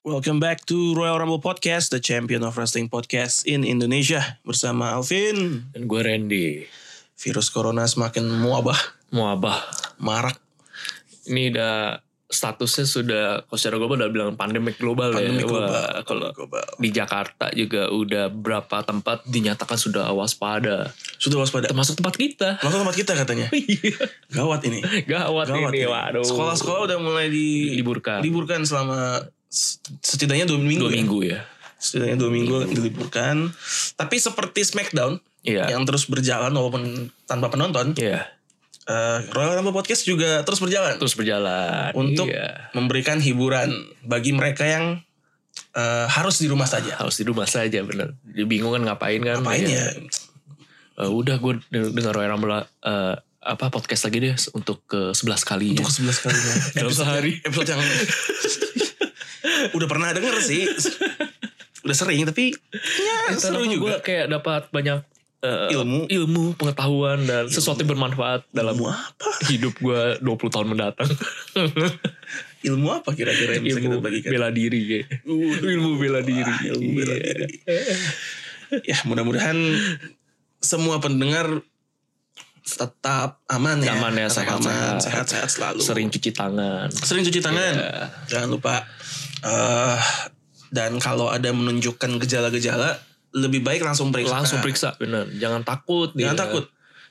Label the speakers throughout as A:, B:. A: Welcome back to Royal Rumble Podcast, the champion of wrestling podcast in Indonesia. Bersama Alvin,
B: Dan gue Randy.
A: virus corona semakin muabah,
B: Muabah.
A: marak.
B: Ini udah statusnya sudah kalau secara global udah bilang pandemik global
A: Pandemi
B: ya.
A: global,
B: Wah, kalau di Jakarta juga udah berapa tempat dinyatakan sudah waspada.
A: Sudah waspada.
B: Termasuk tempat kita.
A: Masuk tempat kita katanya. Gawat ini.
B: Iya. Gawat,
A: Gawat ya.
B: ini,
A: ini.
B: waduh.
A: Sekolah-sekolah udah mulai di,
B: Diliburkan.
A: liburkan selama s- setidaknya dua minggu.
B: dua
A: ya.
B: minggu ya.
A: Setidaknya dua minggu diliburkan. Tapi seperti SmackDown
B: Iya.
A: yang terus berjalan walaupun tanpa penonton,
B: Iya.
A: eh, Royal Rumble Podcast juga terus berjalan.
B: Terus berjalan.
A: untuk
B: Iya.
A: memberikan hiburan bagi mereka yang eh, harus di rumah saja.
B: harus di rumah saja bener. Dia bingung kan ngapain kan.
A: Ngapain ya?
B: Iya. Eh, udah gue dengar Roy Rumble eh, apa podcast lagi deh untuk ke 11 kali.
A: Untuk 11 kali
B: Dalam sehari.
A: Episode yang udah pernah denger sih. Udah sering tapi ya seru
B: Gue
A: juga.
B: kayak dapat banyak eh,
A: Ilmu.
B: ilmu, pengetahuan dan sesuatu yang bermanfaat dalam
A: Ilmu apa?
B: hidup gue 20 tahun mendatang.
A: Ilmu apa kira-kira yang bisa kita
B: ilmu
A: bagikan?
B: bela diri ya. ilmu bela diri.
A: Wah, ilmu bela
B: Iya.
A: diri. Ya mudah-mudahan semua pendengar tetap aman ya.
B: Aman ya,
A: Tetap
B: sehat-sehat.
A: aman, sehat-sehat selalu.
B: Sering cuci tangan.
A: sering cuci tangan Iya. jangan lupa Eh, dan kalau ada menunjukkan gejala-gejala lebih baik langsung periksa
B: Langsung periksa Iya. bener. Jangan takut.
A: jangan
B: dia.
A: takut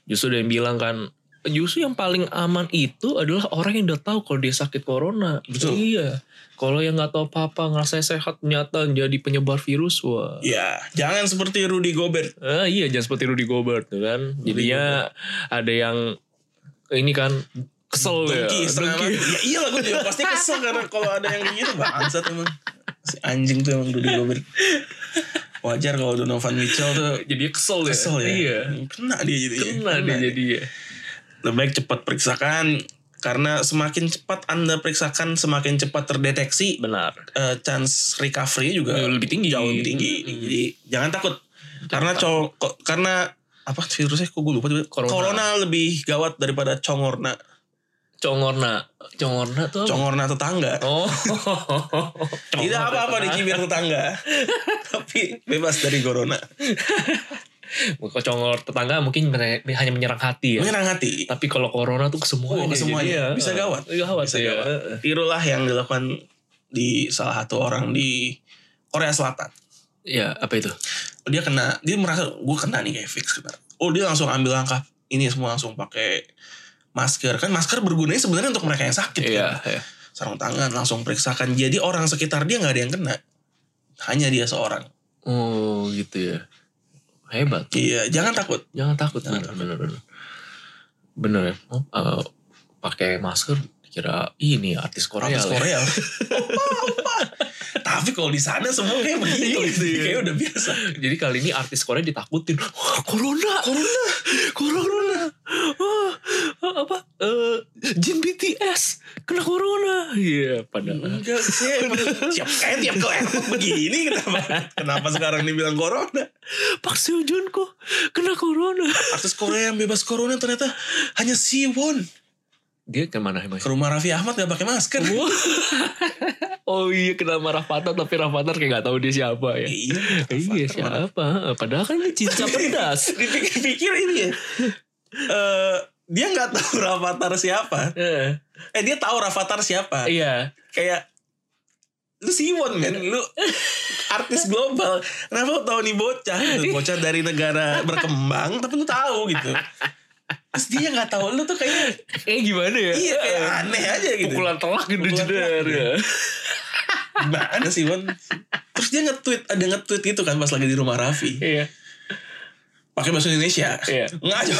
B: Justru ada yang bilang kan Justru yang paling aman itu adalah orang yang udah tahu kalau dia sakit corona.
A: Betul.
B: Iya. Kalau yang nggak tahu apa-apa ngerasa sehat nyata jadi penyebar virus wah.
A: ya jangan seperti Rudy Gobert
B: Eh, iya jangan seperti Rudy Gobert tuh kan. Jadinya ada yang ini kan kesel
A: dengki
B: ya.
A: setengah mati. ya iyalah gue juga pasti kesel karena kalau ada yang kayak gitu bangsat emang si anjing tuh emang Rudy Gobert wajar kalau Donovan Mitchell tuh
B: Jadi kesel ya.
A: kesel ya
B: Iya.
A: kena dia jadi
B: Kena dia jadi ya.
A: lebih baik cepat periksakan karena semakin cepat anda periksakan semakin cepat terdeteksi
B: Benar.
A: eh, chance recovery juga
B: Ya, lebih tinggi. Hmm.
A: jauh lebih tinggi. Jadi jangan takut karena cong ko- karena apa virusnya kok gue lupa tiba-tiba.
B: Corona.
A: corona. lebih gawat daripada congorna
B: Congorna. Congorna tuh apa?
A: congorna tetangga
B: Oh.
A: tidak apa-apa dicibir tetangga tapi bebas dari corona
B: Kalau congor tetangga mungkin mere- hanya menyerang hati ya.
A: menyerang hati
B: Tapi kalau corona tuh ke
A: Oh,
B: semuanya.
A: ke semuanya.
B: Jadi ya,
A: Bisa
B: eh,
A: gawat.
B: Gawat
A: Bisa
B: ya.
A: gawat.
B: Eh, eh.
A: tirulah yang dilakukan di salah satu orang di Korea Selatan
B: Ya, apa itu?
A: dia kena dia merasa gue kena nih kayak fix kena oh dia langsung ambil langkah ini semua langsung pakai masker kan masker bergunanya sebenarnya untuk mereka yang sakit kan?
B: Iya, iya.
A: sarung tangan langsung periksakan jadi orang sekitar dia nggak ada yang kena hanya dia seorang
B: Oh, gitu ya. Hebat.
A: iya jangan takut
B: jangan takut
A: Jangan
B: bener, bener bener bener ya Oh, eh, pakai masker kira ini artis Korea
A: artis
B: lah ya.
A: Korea Opa, opa. tapi kalau di sana semua kayak begitu
B: Gitu ya.
A: kayak udah biasa
B: jadi kali ini artis Korea ditakutin Wah, corona corona corona Wah, eh, apa Eh, Jin BTS kena corona iya padahal
A: enggak sih tiap kayak tiap ke airport begini kenapa kenapa sekarang dibilang corona
B: Pak Seo Joon kok kena corona
A: artis Korea yang bebas corona ternyata hanya Siwon
B: dia kemana emang
A: ke rumah Raffi Ahmad gak pakai masker
B: Wah. oh iya kena marah Rafathar tapi Rafathar kayak gak tahu dia siapa ya
A: iya
B: iya siapa padahal kan dia cinta pedas
A: dipikir-pikir ini ya Eh, dia nggak tahu Rafathar siapa
B: Eh,
A: eh dia tahu Rafathar siapa
B: iya
A: kayak lu Siwon men lu artis global kenapa lu tahu nih bocah
B: Iya.
A: gitu. bocah dari negara berkembang tapi lu tahu gitu terus dia nggak tahu lu tuh kayak
B: Eh gimana ya?
A: iya kayak aneh aja gitu
B: Pukulan telak gitu
A: Pukulan
B: jeder
A: telak,
B: ya.
A: gimana Siwon terus dia nge-tweet ada nge-tweet gitu kan pas lagi di rumah Raffi
B: Iya.
A: pakai bahasa Indonesia
B: Iya.
A: nggak Jo.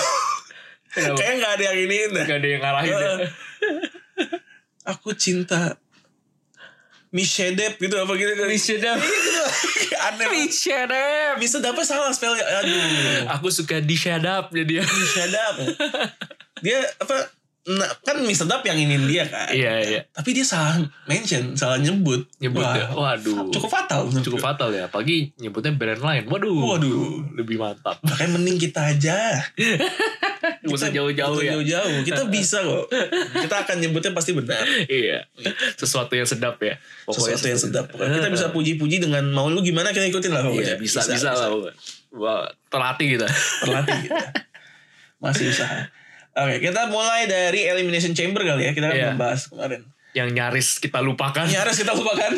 B: Kenapa?
A: kayak nggak ada yang ini
B: Gak ada yang ngalahin ya.
A: Eh. aku cinta Mishedep gitu apa gitu kan
B: Mishedep.
A: aneh banget.
B: Mishedep.
A: bisa dapat salah spellnya aduh
B: Aku suka di shadap jadi ya.
A: Mishedep dia apa nah, kan Mishedep yang ingin dia kan
B: Iya iya.
A: tapi dia salah mention salah nyebut
B: Nyebut
A: Wah,
B: ya. Waduh.
A: cukup fatal
B: Cukup fatal ya. Pagi nyebutnya brand lain. Waduh.
A: waduh
B: Lebih mantap.
A: makanya mending kita aja
B: Gak usah
A: Kita-
B: jauh-jauh ya.
A: jauh-jauh kita bisa kok kita akan nyebutnya pasti benar
B: Iya. Sesuatu yang sedap ya.
A: sesuatu yang sedap Pokoknya kita
B: Eh,
A: bisa puji-puji dengan mau lu gimana kita ikutin lah
B: Iya,
A: pokoknya
B: bisa, bisa, lah. pokoknya. Wah, terlatih kita.
A: terlatih kita. masih usaha oke kita mulai dari elimination chamber kali ya kita kan
B: Iya.
A: membahas kemarin
B: Yang nyaris kita lupakan.
A: ini Ya, harus kita lupakan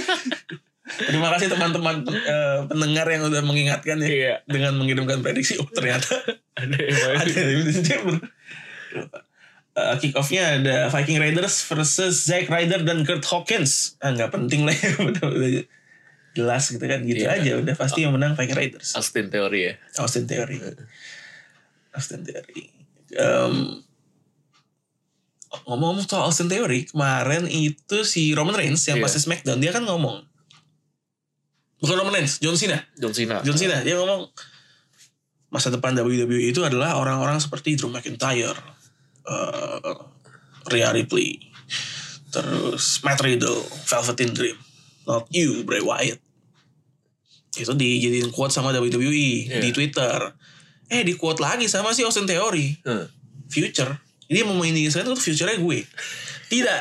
A: terima kasih teman-teman eh, pendengar yang udah mengingatkan ya
B: Iya.
A: dengan mengirimkan prediksi oh ternyata
B: Ada yang main.
A: ada Elimination Chamber. Eh, kick offnya ada Viking Raiders versus Zack Ryder dan Kurt Hawkins. Ah nggak penting lah ya udah, udah jelas gitu kan gitu
B: Iya.
A: aja udah pasti yang menang Viking Raiders.
B: Austin Theory ya.
A: Austin Theory. Austin Theory. Em, ngomong-ngomong soal Austin Theory kemarin itu si Roman Reigns yang
B: Iya.
A: pasti SmackDown dia kan ngomong bukan Roman Reigns John Cena
B: John Cena.
A: John Cena dia ngomong masa depan WWE itu adalah orang-orang seperti Drew McIntyre, eh Rhea Ripley, terus Matt Riddle, Velveteen Dream, not you Bray Wyatt. Itu dijadiin quote sama WWE
B: Iya.
A: di Twitter. Eh di quote lagi sama si Austin Theory,
B: Hmm.
A: future. Dia mau mengindikasikan itu future-nya gue. Tidak.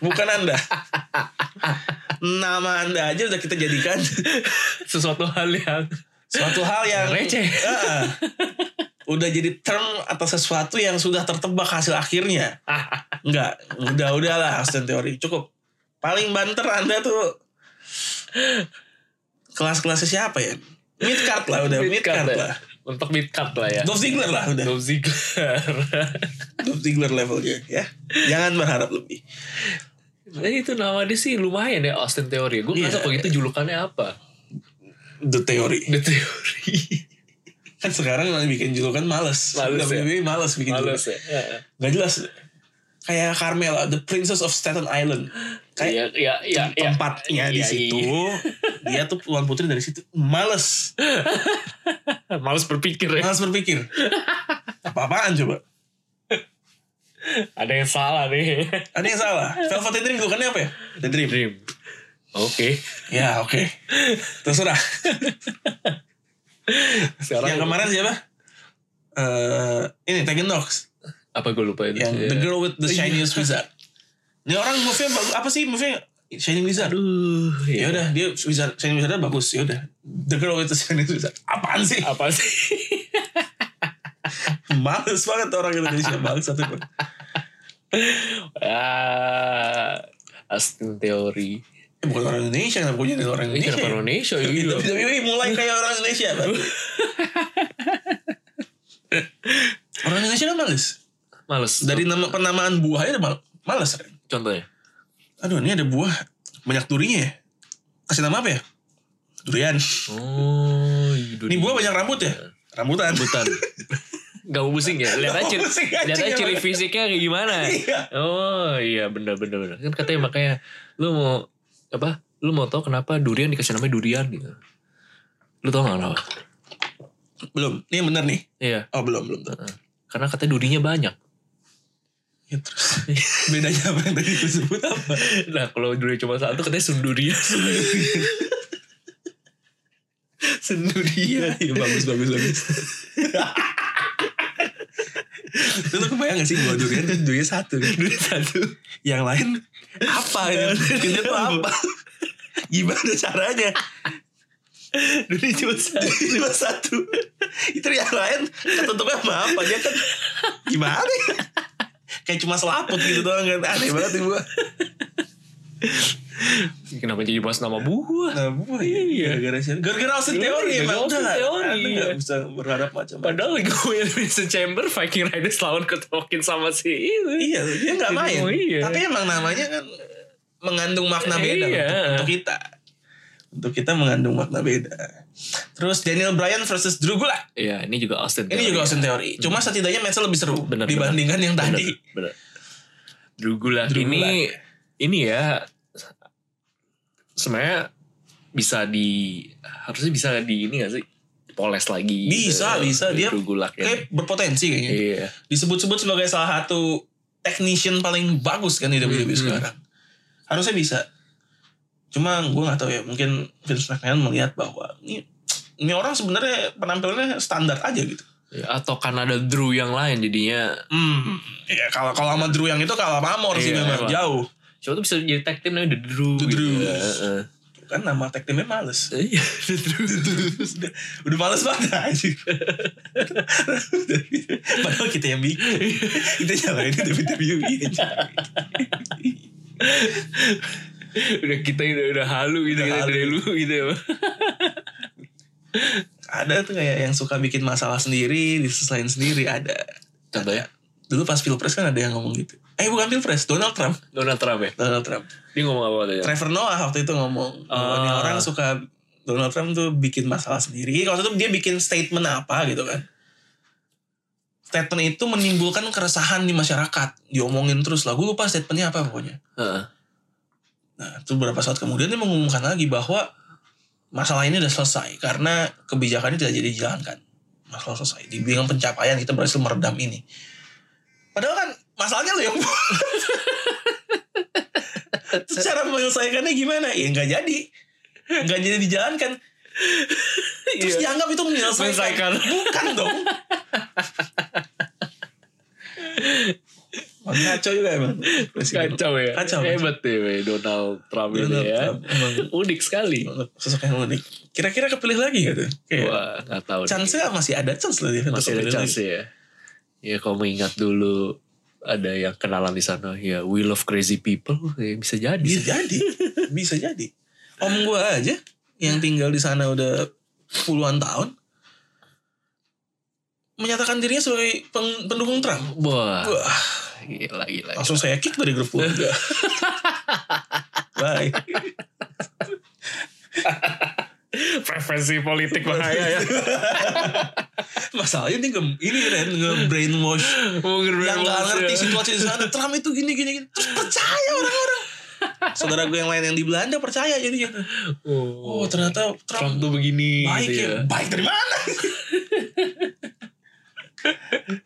A: Bukan Anda. Nama Anda aja udah kita jadikan
B: Sesuatu hal yang
A: suatu hal yang
B: Receh.
A: Heeh. udah jadi term atau sesuatu yang sudah tertebak hasil akhirnya
B: Ah,
A: enggak udah udahlah Austin teori cukup paling banter anda tuh kelas-kelasnya siapa ya mid card lah Oh, udah mid
B: Mid-card
A: card
B: ya.
A: lah
B: Untuk mid card lah ya.
A: Dolph Ziggler lah udah
B: Dolph Ziggler.
A: Dolph Ziggler levelnya ya jangan berharap lebih
B: Eh, itu nama dia sih lumayan ya Austin Theory. Gue nggak
A: Iya.
B: tahu kalau gitu julukannya apa.
A: the theory
B: The Theory.
A: kan sekarang yang bikin julukan males
B: Males ya.
A: WWE males bikin
B: Males
A: julukan
B: ya. Heeh.
A: nggak jelas kayak Carmela the princess of Staten Island kayak
B: Iya, iya, iya. iya.
A: tempatnya di
B: Iya,
A: situ.
B: iya.
A: Dia tuh tuan putri dari situ. Males,
B: Males berpikir ya.
A: males berpikir. Apa-apaan coba?
B: Ada yang salah nih.
A: Ada yang salah. Velvet Dream bukannya apa ya? The Dream.
B: Dream. Oke.
A: Ya, oke. Terserah.
B: Sekarang
A: yang kemarin siapa? Eh ini Tekken Nox
B: apa gue lupa itu. Iya.
A: yang The Girl with the
B: Oh,
A: Shiniest Wizard. Ini orang movie apa sih movie Shining Wizard?
B: Aduh,
A: Ya udah dia wizard Shining Wizardnya bagus. Ya udah The Girl with the Shiniest Wizard. Apaan sih?
B: Apa sih?
A: Males banget orang Indonesia Eh, males satu.
B: ah, Ya, Austin Theory.
A: Eh, bukan orang Indonesia kenapa gue jadi orang
B: Ini
A: Indonesia
B: kenapa
A: ya?
B: Indonesia? Ya,
A: Gitu.
B: gila.
A: WWE mulai kayak orang Indonesia Pak. orang Indonesia kan males
B: Males.
A: dari nama penamaan buah aja udah mal- males Ren.
B: Contohnya.
A: aduh ini ada buah banyak durinya ya kasih nama apa ya durian
B: Oh,
A: ini buah banyak rambut ya rambutan
B: Hutan. Gak mau pusing ya? Lihat aja,
A: Nggak pusing,
B: lihat aja
A: anjing,
B: ciri
A: emang.
B: fisiknya kayak gimana.
A: Iya.
B: Oh iya bener bener bener. Kan katanya makanya lu mau apa? Lu mau tahu kenapa durian dikasih namanya durian gitu? Lu tau gak kenapa?
A: belum ini yang bener nih
B: Iya.
A: oh belum belum tuh.
B: Karena katanya durinya banyak.
A: ya, terus bedanya apa yang tadi disebut apa
B: Nah kalau durian cuma satu katanya sundurian.
A: sendirian ya, bagus bagus bagus Lu tuh kebayang gak sih bahwa durian tuh durian satu kan?
B: Durian satu.
A: yang lain apa ini bikinnya tuh apa gimana caranya
B: Durian cuma satu.
A: cuma satu itu yang lain ketutupnya sama apa dia kan gimana ya kayak cuma selaput gitu doang kan aneh banget ibu
B: Kenapa jadi bahas nama buah?
A: nah buah ya gara-gara siapa? gara-gara Austin
B: Iya,
A: teori
B: gara-gara
A: emang
B: Austin
A: udah
B: Theory,
A: teori
B: iya.
A: nggak bisa berharap macam
B: Padahal gue Elimination Chamber Viking Riders lawan ketokin sama si itu.
A: iya dia nggak main
B: Oh, iya.
A: tapi emang namanya kan mengandung makna beda
B: Iya.
A: untuk, untuk kita untuk kita mengandung makna beda terus Daniel Bryan versus Drew Gulak
B: Iya, Mm-hmm. ini juga Austin.
A: Ini juga Austin teori. Cuma setidaknya matchnya lebih seru
B: Bener,
A: dibandingkan yang tadi.
B: Bener, bener. Drew Gulak
A: Drew
B: ini ini ya sebenarnya bisa di harusnya bisa di ini gak sih? Poles lagi.
A: Bisa,
B: Eh,
A: bisa. Dia
B: Drew Gulak ya.
A: Kayak berpotensi kayaknya.
B: Iya.
A: Disebut-sebut sebagai salah satu technician paling bagus kan di WWE
B: Hmm,
A: sekarang. Harusnya bisa. Cuma gue nggak tahu ya. Mungkin Vince McMahon melihat bahwa ini ini orang sebenarnya penampilannya standar aja gitu.
B: atau kan ada Drew yang lain jadinya
A: Hmm. Ya kalau kalau sama Drew yang itu kalah sama Amor sih
B: Iya,
A: memang
B: emang.
A: jauh.
B: Siapa tuh bisa jadi tag team namanya The Drew
A: The
B: gitu.
A: Drews.
B: Heeh.
A: Tuh Kan nama tag teamnya males.
B: Iya The Drew
A: udah, udah males banget anjing. Padahal kita yang bikin. Kita nyalain itu WWE aja.
B: Udah kita udah, udah halu
A: Udah
B: gitu Kita
A: halu.
B: dari lu gitu ya
A: Ada tuh kayak yang suka bikin masalah sendiri, diselesain sendiri ada.
B: Contohnya
A: Dulu pas Pilpres kan ada yang ngomong gitu. Eh bukan Pilpres, Donald Trump.
B: Donald Trump ya
A: Donald Trump.
B: Dia ngomong apa tadi
A: Trevor Noah waktu itu ngomong bahwa
B: Ah.
A: ini orang suka Donald Trump tuh bikin masalah sendiri. Waktu itu dia bikin statement apa gitu kan? Statement itu menimbulkan keresahan di masyarakat. Diomongin terus lah. Gue lupa statementnya apa pokoknya.
B: Heeh.
A: Nah, itu beberapa saat kemudian dia mengumumkan lagi bahwa masalah ini udah selesai karena kebijakannya tidak jadi dijalankan. Masalah selesai. Dibilang pencapaian kita berhasil meredam ini. Padahal kan masalahnya lo yang buat. Terus cara menyelesaikannya gimana? Ya nggak jadi. Nggak jadi dijalankan. Terus
B: Iya.
A: dianggap itu menyelesaikan.
B: Menyelesaikan.
A: Bukan dong. Kacau juga emang. Presiden.
B: Kacau ya
A: Kacau,
B: Hebat deh we, Donald Trump ini
A: Donald
B: ya
A: Trump, emang.
B: Unik sekali
A: sosok yang unik. Kira-kira kepilih lagi gitu. Kayak
B: Wah gak tau
A: chance nya masih ada chance loh dia untuk
B: Masih ada
A: kepilih
B: chance
A: lagi.
B: ya Ya kalau mengingat dulu ada yang kenalan di sana ya We Love Crazy People ya, bisa jadi
A: Bisa jadi, bisa jadi. Om gue aja yang tinggal di sana udah puluhan tahun menyatakan dirinya sebagai peng- pendukung Trump.
B: Wah
A: Wah, Oh.
B: gila gila
A: langsung saya kick dari grup keluarga. Bye.
B: preferensi politik
A: iya,
B: bahaya ya.
A: Masalahnya ini nge- ini Ren nge-brainwash
B: Mungkin
A: yang nggak
B: memang
A: ngerti
B: sih.
A: situasi di sana Trump itu gini gini gini terus percaya orang-orang saudara gue yang lain yang di Belanda percaya jadinya oh
B: Oh,
A: ternyata Trump
B: Trump tuh begini
A: baik
B: gitu
A: ya baik dari mana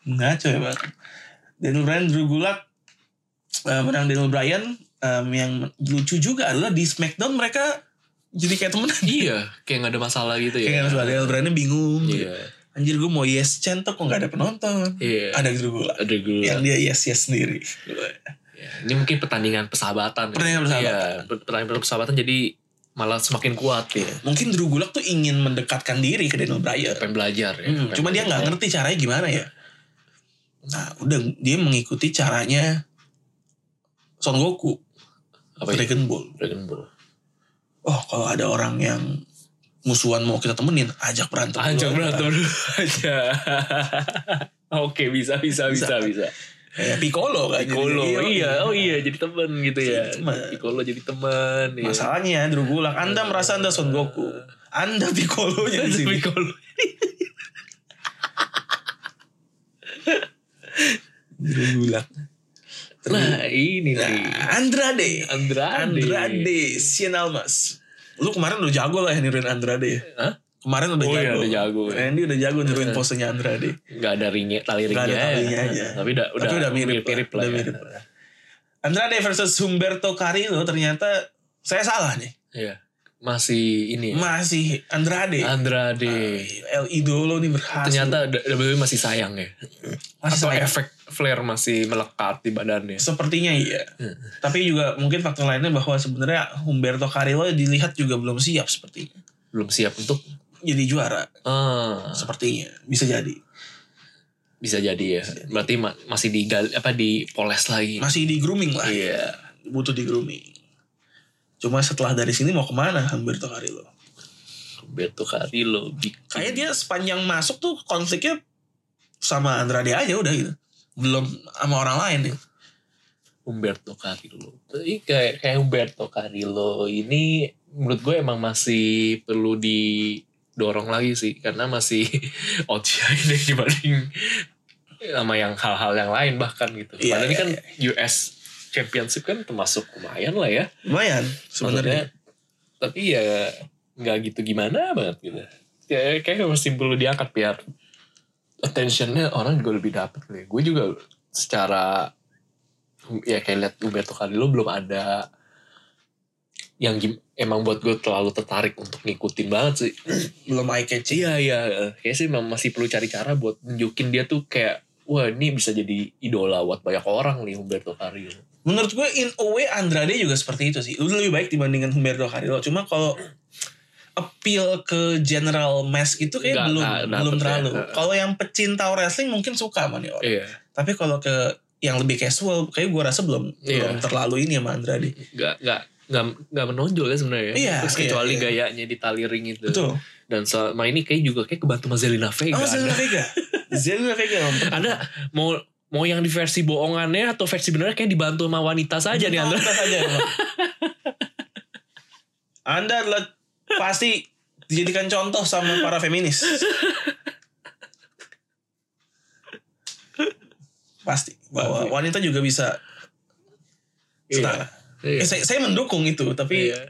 A: ngaco ya bang Daniel Bryan Drew Gulak eh, menang Daniel Bryan em, yang lucu juga adalah di Smackdown mereka jadi kayak temenan
B: Iya, kayak gak ada masalah gitu ya.
A: kayak yeah. Daniel Bryan bingung
B: Iya.
A: anjir gue mau yes chant tuh kok gak ada penonton
B: Iya.
A: ada Iya. Drew Gulak
B: Ada gue.
A: yang dia yes yes sendiri
B: Ya, Ini mungkin pertandingan persahabatan. ya.
A: Pertandingan persahabatan.
B: Iya, per- pertandingan persahabatan jadi malah semakin kuat ya.
A: mungkin Drew Gulak tuh ingin mendekatkan diri ke Daniel Bryan.
B: Pengen belajar ya.
A: Hmm,
B: Pengen
A: cuma dia
B: belajar.
A: nggak ngerti caranya gimana ya. Nah, udah dia mengikuti caranya Son Goku,
B: Apa ya?
A: Dragon Ball.
B: Dragon Ball.
A: Oh, kalau ada orang yang musuhan mau kita temenin, ajak berantem. dulu.
B: Ajak berantem Ah, dulu aja. Oke, bisa, bisa, bisa, bisa.
A: Kayak Piccolo kan. jadi
B: Piccolo,
A: dia-
B: iya, oh iya, jadi teman gitu ya.
A: Jadi teman.
B: Piccolo jadi teman. iya.
A: Masalahnya Drew Gulak, Anda merasa Anda Son Goku. Anda Piccolo-nya di
B: Ada
A: sini.
B: Piccolo.
A: Drew Gulak.
B: Nah, ini nih.
A: Nah, Andrade.
B: Andrade.
A: Andrade, Cien Almas. Lu kemarin udah jago lah yang niruin Andrade ya?
B: Hah?
A: Kemarin udah
B: Oh
A: jago.
B: iya, udah jago. Iya.
A: Randy udah jago niruin posenya Andrade.
B: Gak ada ringnya, tali ringnya.
A: Gak ada talinya
B: ya.
A: aja.
B: Tapi udah, udah,
A: Tapi udah mirip, lah.
B: lah.
A: Udah
B: ya.
A: mirip lah. Andrade versus Humberto Carrillo ternyata saya salah nih.
B: Iya. Masih ini ya.
A: Masih Andrade.
B: Andrade.
A: El Idolo nih berhasil.
B: Ah. Ternyata ya? D- WWE masih sayang ya.
A: Masih
B: Atau
A: sayang.
B: efek flare masih melekat di badannya.
A: Sepertinya iya. Tapi juga mungkin faktor lainnya bahwa sebenarnya Humberto Carrillo dilihat juga belum siap sepertinya.
B: Belum siap untuk
A: Jadi juara
B: ah,
A: sepertinya. Bisa jadi.
B: bisa jadi ya. Berarti ma- masih digal apa dipoles lagi.
A: Masih di grooming lah.
B: Iya.
A: butuh di grooming. Cuma setelah dari sini mau kemana Humberto Carrillo?
B: Beto Carrillo bikin.
A: Kayaknya dia sepanjang masuk tuh konfliknya sama Andrade aja udah gitu. Belum sama orang lain nih.
B: Umberto Carrillo. Tapi kayak kayak Umberto Carrillo ini menurut gue emang masih perlu didorong lagi sih karena masih OCI deh dibanding sama yang hal-hal yang lain bahkan gitu.
A: Iya,
B: Padahal ini
A: iya,
B: kan US Championship kan termasuk lumayan lah ya.
A: Lumayan sebenarnya.
B: Maksudnya, tapi ya nggak gitu gimana banget gitu. Ya, kayak mesti perlu diangkat biar attentionnya orang juga lebih dapet nih. Gue juga secara ya kayak lihat Umberto Carrillo belum ada yang gim- emang buat gue terlalu tertarik untuk ngikutin banget sih
A: belum eye catching
B: Iya iya, kayak sih memang masih perlu cari cara buat nunjukin dia tuh kayak wah ini bisa jadi idola buat banyak orang nih Humberto Carrillo.
A: menurut gue in a way Andrade juga seperti itu sih lebih baik dibandingkan Humberto Carrillo cuma kalau appeal ke general mass itu kayak
B: Nggak,
A: belum
B: nggak dapet
A: belum
B: ya.
A: terlalu
B: Nggak.
A: kalau yang pecinta wrestling mungkin suka sama nih orang
B: Iya,
A: tapi kalau ke yang lebih casual kayak gue rasa belum
B: Iya.
A: belum terlalu ini sama Andrade
B: nggak nggak nggak nggak menonjol ya sebenarnya. ya.
A: Iya,
B: Terus
A: iya,
B: kecuali
A: iya.
B: gayanya di tali ring itu.
A: betul
B: Dan selama ini kayak juga kayak kebantu sama Zelina Vega.
A: oh Zelina Vega Zelina Vega nonton.
B: Anda mau mau yang di versi bohongannya atau versi benernya kayak dibantu sama wanita saja nih Andra.
A: Nonton saja, emang. Anda adalah pasti dijadikan contoh sama para feminis. Pasti bahwa wanita juga bisa setara.
B: Iya.
A: Eh, saya, saya mendukung itu, tapi
B: Iya.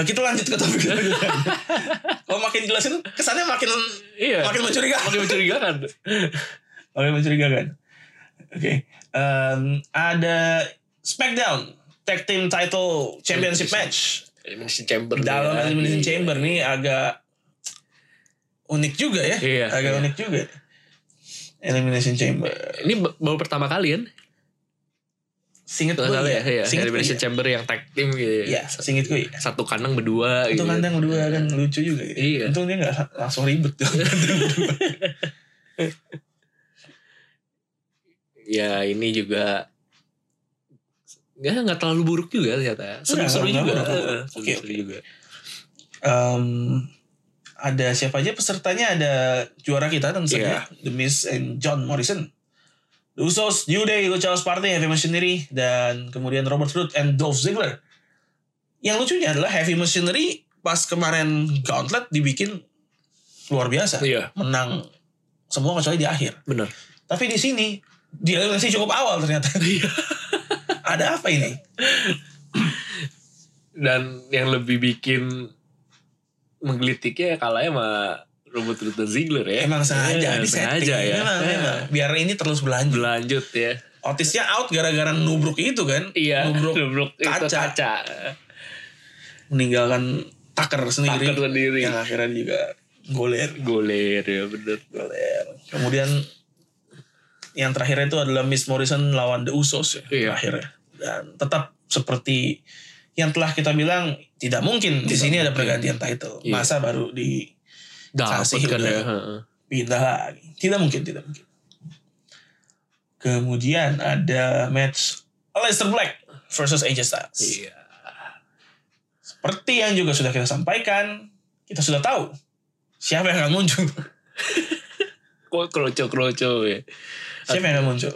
A: eh, kita lanjut ke topik berikutnya. Kalau makin jelasin kesannya makin
B: Iya.
A: makin mencurigakan.
B: Makin mencurigakan.
A: Makin mencurigakan. Oke, Em, ada Smackdown Tag Team Title Championship Match.
B: Elimination Chamber.
A: dalam
B: ya.
A: elimination
B: Iya.
A: chamber nih agak unik juga ya
B: Iya,
A: agak
B: iya.
A: unik juga elimination chamber
B: Ini ba- baru pertama kali kan?
A: singet
B: Kalau
A: gue
B: nggak salah ya, iya.
A: singet gue
B: Elimination Chamber yang tag team gitu.
A: ya singet gue ya.
B: Satu kandang berdua
A: Untung
B: gitu.
A: kandang kedua kan lucu juga ya.
B: Iya.
A: Untung dia gak langsung ribet tuh. Kandang kedua.
B: Ya ini juga Ya nggak terlalu buruk juga ternyata. Seru-seru
A: Nggak,
B: juga.
A: nggak buruk.
B: Heeh,
A: Iya, Oke,
B: Seru-seru juga.
A: Em, ada siapa aja pesertanya ada juara kita tentu
B: Iya.
A: saja The Miz and John Morrison The Usos, New Day, Lucha House Party, Heavy Machinery dan kemudian Robert Root and Dolph Ziggler yang lucunya adalah Heavy Machinery pas kemarin Gauntlet dibikin luar biasa
B: Iya,
A: menang semua kecuali di akhir
B: benar.
A: tapi di sini di eliminasi cukup awal ternyata
B: Iya.
A: ada apa ini
B: Dan yang lebih bikin menggelitiknya kalahnya sama Robert Ruth dan Ziggler ya.
A: emang sengaja
B: Iya,
A: di setting
B: sengaja ya.
A: Memang,
B: Iya.
A: memang. biar ini terus berlanjut
B: Berlanjut ya.
A: Otisnya out gara-gara nubruk itu kan.
B: Hmm. Iya,
A: Nubruk
B: nubruk itu
A: kaca.
B: kaca.
A: meninggalkan Tucker sendiri. Iya.
B: Tucker sendiri.
A: Yang akhirnya juga goler.
B: Goler ya bener.
A: Goler. Kemudian yang terakhir itu adalah Miss Morrison lawan The Usos ya.
B: Iya.
A: Akhirnya. Dan tetap seperti yang telah kita bilang tidak mungkin di sini ada pergantian title.
B: Iya.
A: Masa baru di
B: Dapat
A: Kasih
B: kan
A: udah.
B: ya. heeh.
A: pindah lagi. Tidak mungkin, tidak mungkin. Kemudian ada match Aleister Black versus AJ Styles.
B: Iya.
A: Seperti yang juga sudah kita sampaikan, kita sudah tahu siapa yang akan muncul.
B: Kok kroco-kroco ya.
A: Siapa yang akan muncul?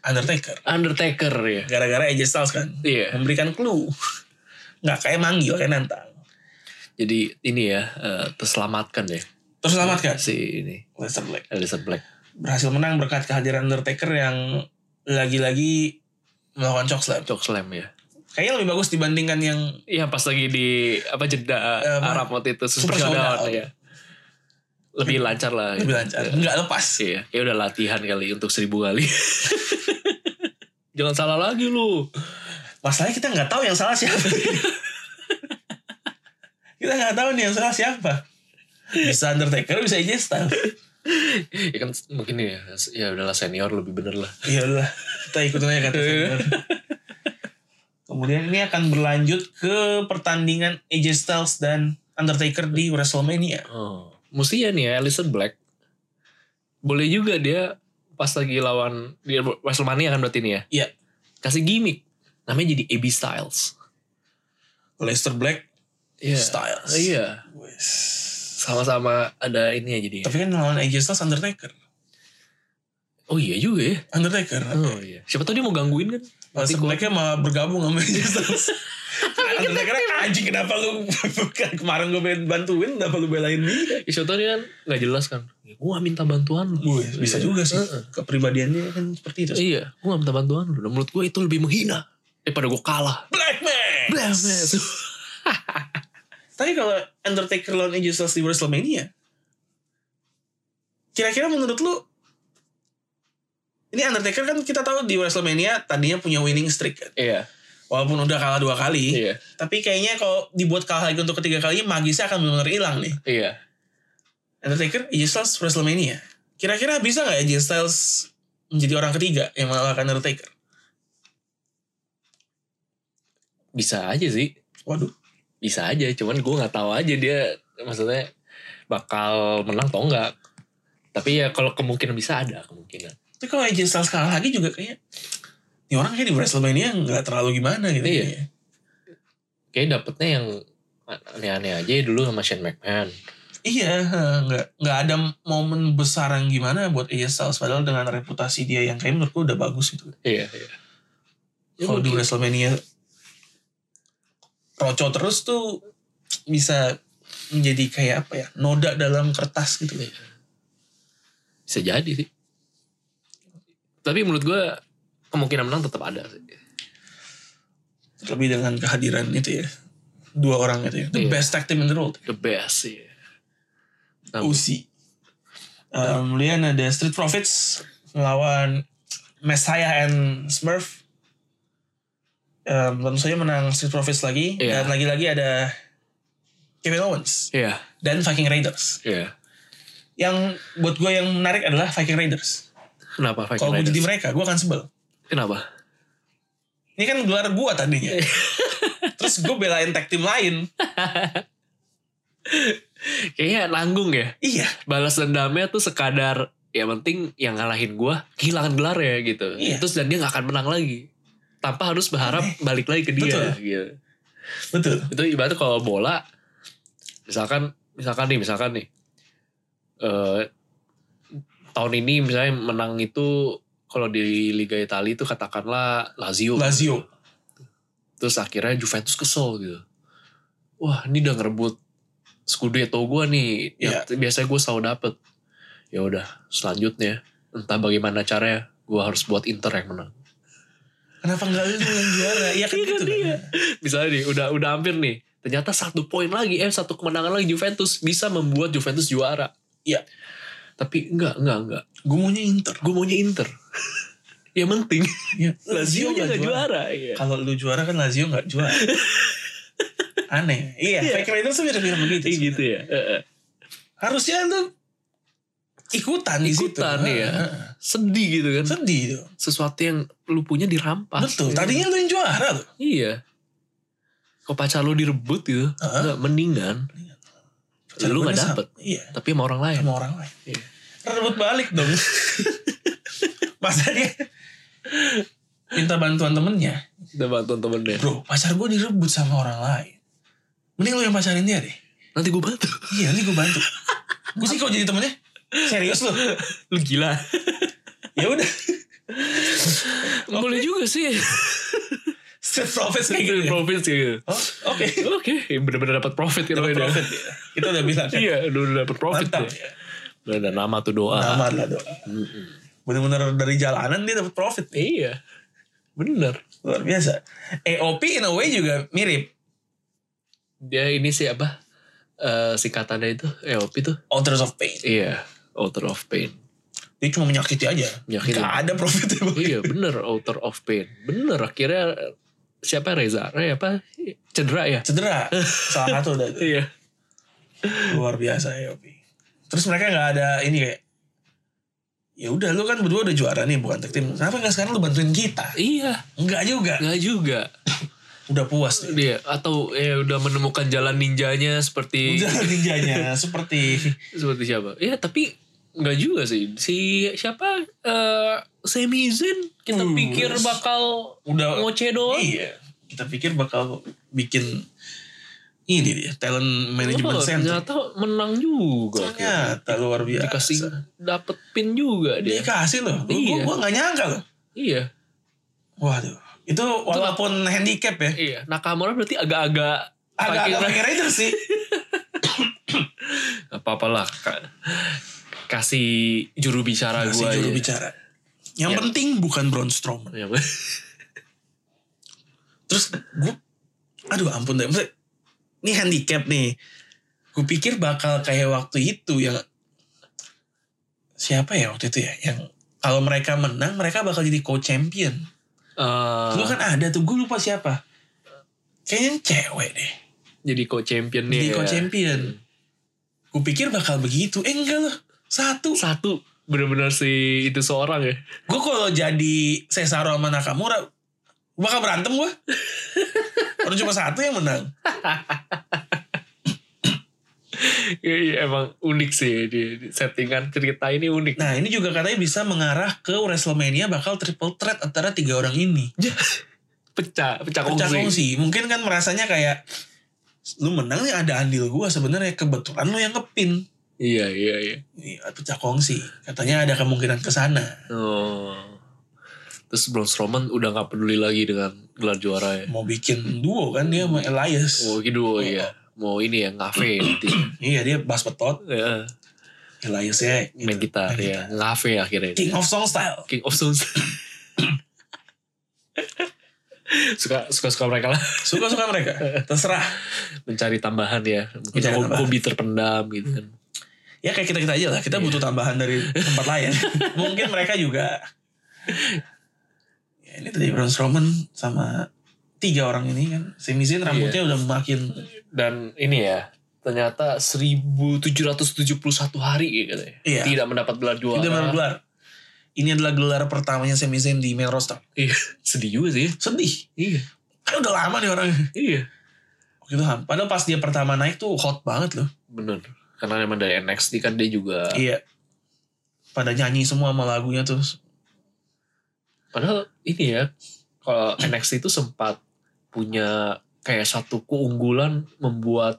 A: Undertaker.
B: Undertaker ya.
A: Gara-gara AJ Styles kan.
B: Iya.
A: Memberikan clue. Nggak kayak manggil, kayak nantang.
B: Jadi ini ya eh, terselamatkan ya
A: Terus selamatkan
B: si ini
A: Lester Black.
B: Elizabeth Black.
A: Berhasil menang berkat kehadiran Undertaker yang lagi-lagi melakukan choke slam.
B: Choke slam ya.
A: Kayaknya lebih bagus dibandingkan yang
B: Iya pas lagi di apa jeda
A: Eh, apa?
B: Arab waktu itu
A: Super
B: Super Showdown
A: Showdown.
B: ya. Lebih lancar lah.
A: lebih lancar. Nggak lepas.
B: Iya, ya udah latihan kali untuk seribu kali. Jangan salah lagi lu.
A: Masalahnya kita nggak tahu yang salah siapa. kita nggak tahu nih yang salah siapa. Bisa Undertaker, bisa AJ Styles.
B: Ya kan mungkin ya, ya udahlah senior lebih bener lah.
A: Iya lah, kita ikutin aja kata senior. Kemudian ini akan berlanjut ke pertandingan AJ Styles dan Undertaker di WrestleMania.
B: Oh, mestinya nih ya Alison Black boleh juga dia pas lagi lawan di Wrestlemania kan berarti nih ya.
A: Iya.
B: Kasih gimmick. Namanya jadi AB Styles.
A: Leicester Black,
B: Iya.
A: Styles.
B: Iya.
A: Wes.
B: Sama-sama ada ini ya jadi. ya.
A: Tapi kan lawan AJ Styles Undertaker.
B: Oh iya juga ya.
A: Undertaker.
B: Oh iya. Siapa tau dia mau gangguin kan? Nanti
A: Leicester
B: gua-
A: Blacknya malah bergabung sama AJ Styles. Kan Undertaker anjing kenapa lu kemarin gue bantuin kenapa lu belain dia?
B: Ya, siapa tau dia kan nggak jelas kan. Gua minta bantuan. lu.
A: Wes, bisa juga sih.
B: Heeh.
A: Kepribadiannya kan seperti itu.
B: Iya. Gua minta bantuan lu. Dan menurut gua itu lebih menghina daripada gua kalah.
A: Black man.
B: Blah, blah.
A: Tapi kalau Undertaker lawan AJ Styles di WrestleMania, kira-kira menurut lu, ini Undertaker kan kita tahu di WrestleMania tadinya punya winning streak kan.
B: Iya.
A: walaupun udah kalah dua kali
B: Iya.
A: tapi kayaknya kalau dibuat kalah lagi untuk ketiga kalinya magisnya akan benar-benar hilang nih
B: Iya.
A: Undertaker AJ Styles Wrestlemania kira-kira bisa nggak AJ Styles menjadi orang ketiga yang mengalahkan Undertaker
B: Bisa aja sih.
A: waduh
B: Bisa aja. Cuman gue nggak tahu aja dia maksudnya bakal menang atau enggak. Tapi ya kalau kemungkinan bisa ada kemungkinan.
A: tapi kalau AJ Styles kalah lagi juga kayaknya ini orang kayak di Wrestlemania nggak terlalu gimana gitu
B: Iya.
A: kayaknya.
B: Kayaknya dapetnya yang aneh-aneh aja dulu sama Shane McMahon.
A: Iya, eh, nggak nggak ada momen besar yang gimana buat AJ Styles padahal dengan reputasi dia yang kayak menurutku udah bagus gitu.
B: Iya, iya. Ya,
A: Kalau di
B: mungkin.
A: Wrestlemania roco terus tuh bisa menjadi kayak apa ya noda dalam kertas gitu.
B: Iya. Bisa jadi sih. Tapi menurut gue kemungkinan menang tetap ada sih.
A: Terlebih dengan kehadiran itu ya dua orang itu ya the
B: Iya.
A: best tag team in the world
B: The best sih. Nah,
A: UC. Um, kemudian ada Street Profits melawan Messiah and Smurf. Um, tentu saja menang Street Profits lagi
B: Iya.
A: dan lagi-lagi ada Kevin Owens
B: Iya,
A: dan Viking Raiders.
B: iya.
A: Yang buat gue yang menarik adalah Viking Raiders.
B: Kenapa Viking
A: Kalau gue
B: Raiders?
A: jadi mereka, gue akan sebel.
B: Kenapa?
A: Ini kan gelar gue tadinya.
B: Iya.
A: Terus gue belain tag team lain.
B: Kayaknya nanggung ya.
A: Iya,
B: Balas dendamnya tuh sekadar ya penting yang ngalahin gua kehilangan gelar ya gitu.
A: Iya.
B: Terus dan dia nggak akan menang lagi. Tanpa harus berharap
A: Aneh.
B: balik lagi ke dia.
A: Betul.
B: Gitu.
A: betul.
B: Itu ibaratnya kalau bola misalkan misalkan nih misalkan nih eh tahun ini misalnya menang itu kalau di Liga Italia itu katakanlah Lazio.
A: Lazio.
B: Terus akhirnya Juventus kesel gitu. Wah ini udah ngerebut Scudetto gue nih. yang Biasanya gue selalu dapet. Ya udah selanjutnya. Entah bagaimana caranya. Gue harus buat Inter yang menang.
A: Kenapa nggak lu yang juara? Iya kan
B: Iya kan
A: gitu
B: iya.
A: kan.
B: Misalnya nih udah, udah hampir nih. Ternyata satu poin lagi. Eh satu kemenangan lagi Juventus. Bisa membuat Juventus juara.
A: Iya.
B: Tapi enggak, enggak, enggak.
A: Gue maunya Inter.
B: Gue maunya Inter. yang penting.
A: Iya.
B: Lazio
A: nggak
B: nggak juara. Iya.
A: kalau lu juara kan Lazio nggak juara aneh iya
B: Iya.
A: fake Raiders tuh mirip-mirip begitu
B: Iya gitu ya. Eh, eh.
A: harusnya lu ikutan di situ
B: Ikutan, iya.
A: Heeh.
B: Sedih gitu kan.
A: sedih tuh
B: sesuatu yang lu punya dirampas.
A: betul
B: Iya.
A: tadinya lu yang juara tuh
B: Iya. Kok pacar lu direbut gitu.
A: Heeh.
B: Enggak, mendingan.
A: Pacar
B: lu
A: gue
B: nggak
A: nyesal.
B: dapet.
A: iya
B: Tapi sama orang lain.
A: sama orang lain
B: Iya.
A: rebut balik dong masa dia minta bantuan temennya
B: Udah bantuin temennya.
A: bro pacar gue direbut sama orang lain mending lu yang pacarin dia deh
B: Nanti gue bantu.
A: iya nanti gue bantu gue sih kalau jadi temennya serius lu
B: Lu gila.
A: ya udah
B: Boleh juga sih.
A: Street Profits kayak gitu
B: Gitu,
A: ya?
B: profit sih. gitu.
A: Oh, oke.
B: Oke, Iya, bener-bener dapat profit kan
A: Dapat
B: beda.
A: profit ya. Kita udah bilang kan.
B: Iya, udah dapat profit
A: Mantap Nah.
B: ya.
A: ya.
B: Udah ada nama tuh doa.
A: Nama adalah doa. Bener-bener dari jalanan dia dapat profit.
B: Iya. Bener.
A: Luar biasa. AOP in a way juga mirip.
B: Dia ini sih apa? Eh singkatannya itu EOP tuh.
A: Authors of pain.
B: Iya, author of pain.
A: Dia cuma menyakiti aja.
B: Menyakiti.
A: Gak ada profit
B: iya bener author of pain bener akhirnya eh, siapa Reza Re apa cedera ya
A: Cedera. Salah satu udah.
B: iya
A: Luar biasa AOP. Terus mereka gak ada ini kayak. Ya udah lu kan berdua udah juara nih bukan tag team. Kenapa gak sekarang lu bantuin kita?
B: iya
A: Enggak juga.
B: nggak juga
A: Udah puas nih.
B: dia atau eh udah menemukan jalan ninjanya seperti
A: Udah ninjanya seperti
B: seperti siapa ya tapi nggak juga sih si siapa eh Sami Zayn kita
A: Hmm.
B: pikir bakal
A: udah
B: ngoceh doang
A: Iya. Kita pikir bakal bikin ini dia talent management
B: Wah,
A: center.
B: ternyata menang juga
A: Iya. Ternyata luar biasa.
B: dikasih dapet pin juga dia
A: Dikasih loh. Gue
B: Iya.
A: gua nggak nyangka loh.
B: iya
A: Waduh. Itu walaupun handicap ya.
B: iya Nakamura berarti agak-agak
A: Agak-agak Viking Raiders sih.
B: Gak apa-apa lah. Ka- kasih juru bicara gue
A: Kasih juru bicara. Yang
B: Iya.
A: penting bukan Braun Strowman. Terus gue. Aduh ampun deh. Maksudnya, Ini handicap nih. Gue pikir bakal kayak waktu itu yang. ya, Siapa ya waktu itu ya. Yang kalau mereka menang mereka bakal jadi co-champion.
B: Eh,
A: Lu kan ada tuh, gue lupa siapa. Kayaknya cewek deh.
B: jadi co-champion nih
A: Jadi co-champion. Gue pikir bakal begitu. Eh enggak loh. Satu.
B: Satu bener-bener si itu seorang ya.
A: Gue kalau jadi Cesaro sama Nakamura. Bakal berantem gue. Baru cuma satu yang menang.
B: Iya, iya, emang unik sih di, di settingan cerita ini unik.
A: Nah ini juga katanya bisa mengarah ke Wrestlemania bakal triple threat antara tiga orang ini.
B: Pecah, pecah kongsi.
A: Pecah Ya. kongsi. Mungkin kan merasanya kayak lu menang nih ada andil gue sebenarnya kebetulan lu yang kepin.
B: Iya, iya, iya.
A: Iya, pecah kongsi. Katanya ada kemungkinan ke sana.
B: Oh. Terus Braun Strowman udah gak peduli lagi dengan gelar juara ya.
A: Mau bikin duo kan dia sama Elias.
B: Oh gitu ya. Mau ini ya, ngafe nanti.
A: Iya, dia bass petot,
B: Ya,
A: Elias ya. gitu.
B: main gitar
A: Main Gitu.
B: ya. Ngafe akhirnya.
A: King of Song Style.
B: King of Stones. suka suka suka mereka lah
A: Suka-suka mereka. Terserah.
B: mencari tambahan ya mungkin
A: Mencari
B: hobi,
A: tambahan.
B: hobi terpendam gitu kan
A: Ya kayak kita-kita aja lah. Kita butuh tambahan dari tempat lain. Mungkin mereka juga. Ya, ini tadi Braun Strowman sama tiga orang ini kan. Sami Zayn rambutnya udah makin...
B: dan ini ya ternyata 1771 hari ya katanya.
A: Iya.
B: Tidak mendapat gelar juara.
A: Udah makin gelar. Ini adalah gelar pertamanya Sami Zayn di main roster.
B: Iya, sedih juga sih.
A: Sedih.
B: Iya.
A: Kan udah lama nih orangnya.
B: Iya.
A: Waktu itu ham. Padahal pas dia pertama naik tuh hot banget loh.
B: Bener. Karena emang dari NXT kan dia juga
A: Iya. Pada nyanyi semua sama lagunya tuh.
B: padahal ini ya kalau NXT itu sempat punya kayak satu keunggulan membuat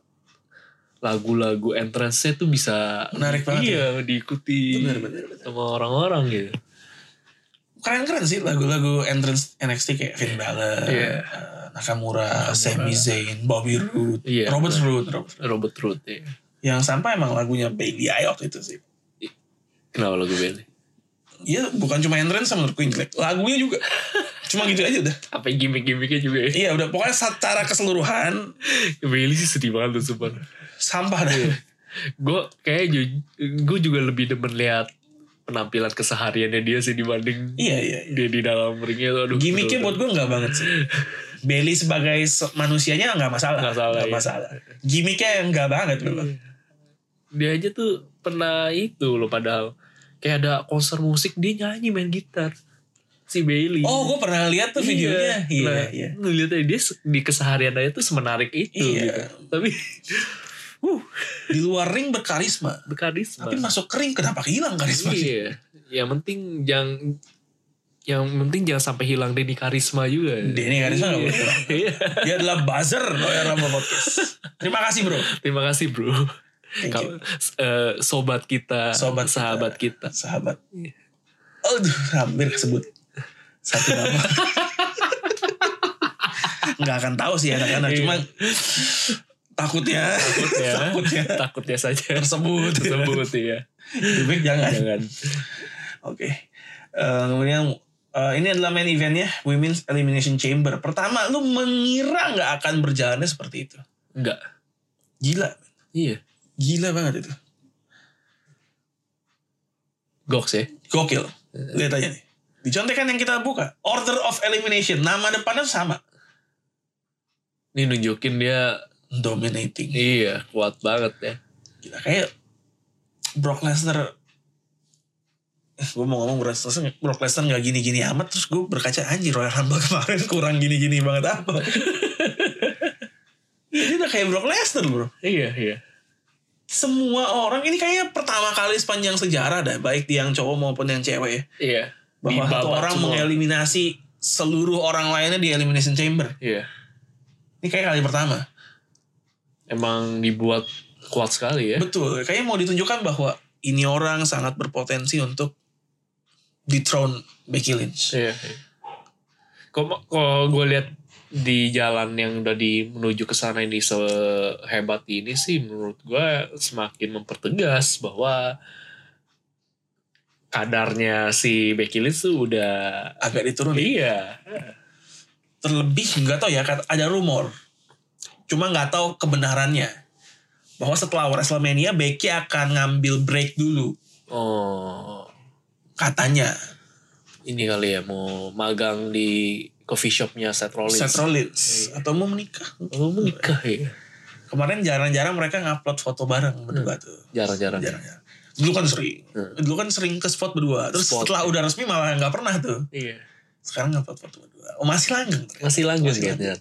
B: lagu-lagu entrance-nya tuh bisa
A: Menarik banget ya.
B: Iya, diikuti
A: Bener, bener, bener.
B: sama orang-orang gitu.
A: Keren-keren sih lagu-lagu entrance NXT kayak Finn Balor,
B: Iya.
A: eh, Nakamura, Sami Zain, Bobby Roode,
B: Iya.
A: Robert Roode. Robert Roode.
B: Robert Root ya.
A: Yang sampai emang lagunya Baby I waktu itu sih.
B: Kenapa lagu Bailey?
A: Iya bukan cuma entrance menurutku yang jelek. Lagunya juga. cuma gitu aja udah.
B: Apa gimmick-gimmicknya juga ya?
A: Iya udah pokoknya secara keseluruhan
B: Bailey sih sedih banget tuh sumpah.
A: sampah dah.
B: Iya. gue kayak gue juga lebih demen lihat penampilan kesehariannya dia sih dibanding
A: iya iya. iya.
B: dia di dalam ringnya tuh aduh
A: Gimiknya buat gue nggak banget sih. Bailey sebagai se- manusianya nggak masalah.
B: Nggak salah, iya.
A: masalah. Gimiknya nggak banget memang.
B: dia aja tuh pernah itu loh padahal kayak ada konser musik dia nyanyi main gitar si Bailey
A: Oh gue pernah lihat tuh videonya. Iya
B: nah,
A: iya.
B: ngeliatnya dia se- di keseharian aja tuh semenarik itu
A: Iya.
B: gitu tapi uh
A: Di luar ring berkarisma.
B: berkarisma
A: Tapi masuk kering kenapa hilang karisma?
B: iya yang penting yang yang penting jangan sampai hilang Denny karisma juga
A: Denny karisma nggak boleh hilang.
B: Iya.
A: Dia adalah buzzer Royal Rumble Podcast. Terima kasih bro.
B: Terima kasih bro.
A: Thank
B: Kalau eh, sobat kita,
A: Sobat kita.
B: sahabat kita.
A: Sahabat.
B: Iya.
A: Aduh hampir kesebut. Satu nama. Nggak akan tahu sih anak-anak.
B: Iya.
A: Cuma takutnya.
B: Takutnya,
A: Takutnya.
B: ya. takutnya saja
A: ya. Tersebut.
B: tersebut ya.
A: Lebih baik jangan.
B: Jangan.
A: Oke. Eh, kemudian eh, ini adalah main eventnya Women's Elimination Chamber. Pertama, lu mengira nggak akan berjalannya seperti itu?
B: Enggak.
A: Gila,
B: Iya.
A: gila banget itu.
B: Goks ya.
A: Gokil. Lihat aja nih. Dicontekan yang kita buka. Order of Elimination. Nama depannya sama.
B: Ini nunjukin dia
A: Dominating.
B: iya kuat banget ya.
A: Gila kayak Brock Lesnar. gue mau ngomong Brock Lesnar, Brock Lesnar gak gini-gini amat. Terus gue berkaca anjir Royal Rumble kemarin kurang gini-gini banget apa. Iya, dia udah kayak Brock Lesnar bro.
B: Iya iya.
A: semua orang ini kayaknya pertama kali sepanjang sejarah dah baik di yang cowok maupun yang cewek ya
B: Iya.
A: bahwa
B: Dibabak
A: satu orang
B: semua.
A: mengeliminasi seluruh orang lainnya di elimination chamber
B: Iya.
A: ini kayak kali pertama
B: Emang dibuat kuat sekali ya.
A: betul kayaknya mau ditunjukkan bahwa ini orang sangat berpotensi untuk dethrone Becky Lynch
B: Iya. iya. Kok kalau gue lihat di jalan yang udah di menuju ke sana ini sehebat ini sih menurut gue semakin mempertegas bahwa kadarnya si Becky Lynch tuh udah
A: agak diturunin
B: iya
A: terlebih nggak tahu ya kata- ada rumor cuma nggak tahu kebenarannya bahwa setelah Wrestlemania Becky akan ngambil break dulu
B: oh
A: katanya
B: ini kali ya mau magang di coffee shopnya Seth Rollins. Iya.
A: Seth Rollins atau mau menikah
B: Oh, menikah ya.
A: kemarin jarang-jarang mereka ngupload foto bareng berdua tuh
B: Jarang-jarang.
A: jarang-jarang dulu kan sering
B: Hmm.
A: dulu kan sering ke spot berdua terus
B: Spot.
A: setelah udah resmi malah nggak pernah tuh
B: Iya.
A: sekarang ngupload foto berdua oh, masih langgeng ternyata.
B: Masih langgeng
A: Masih
B: ya.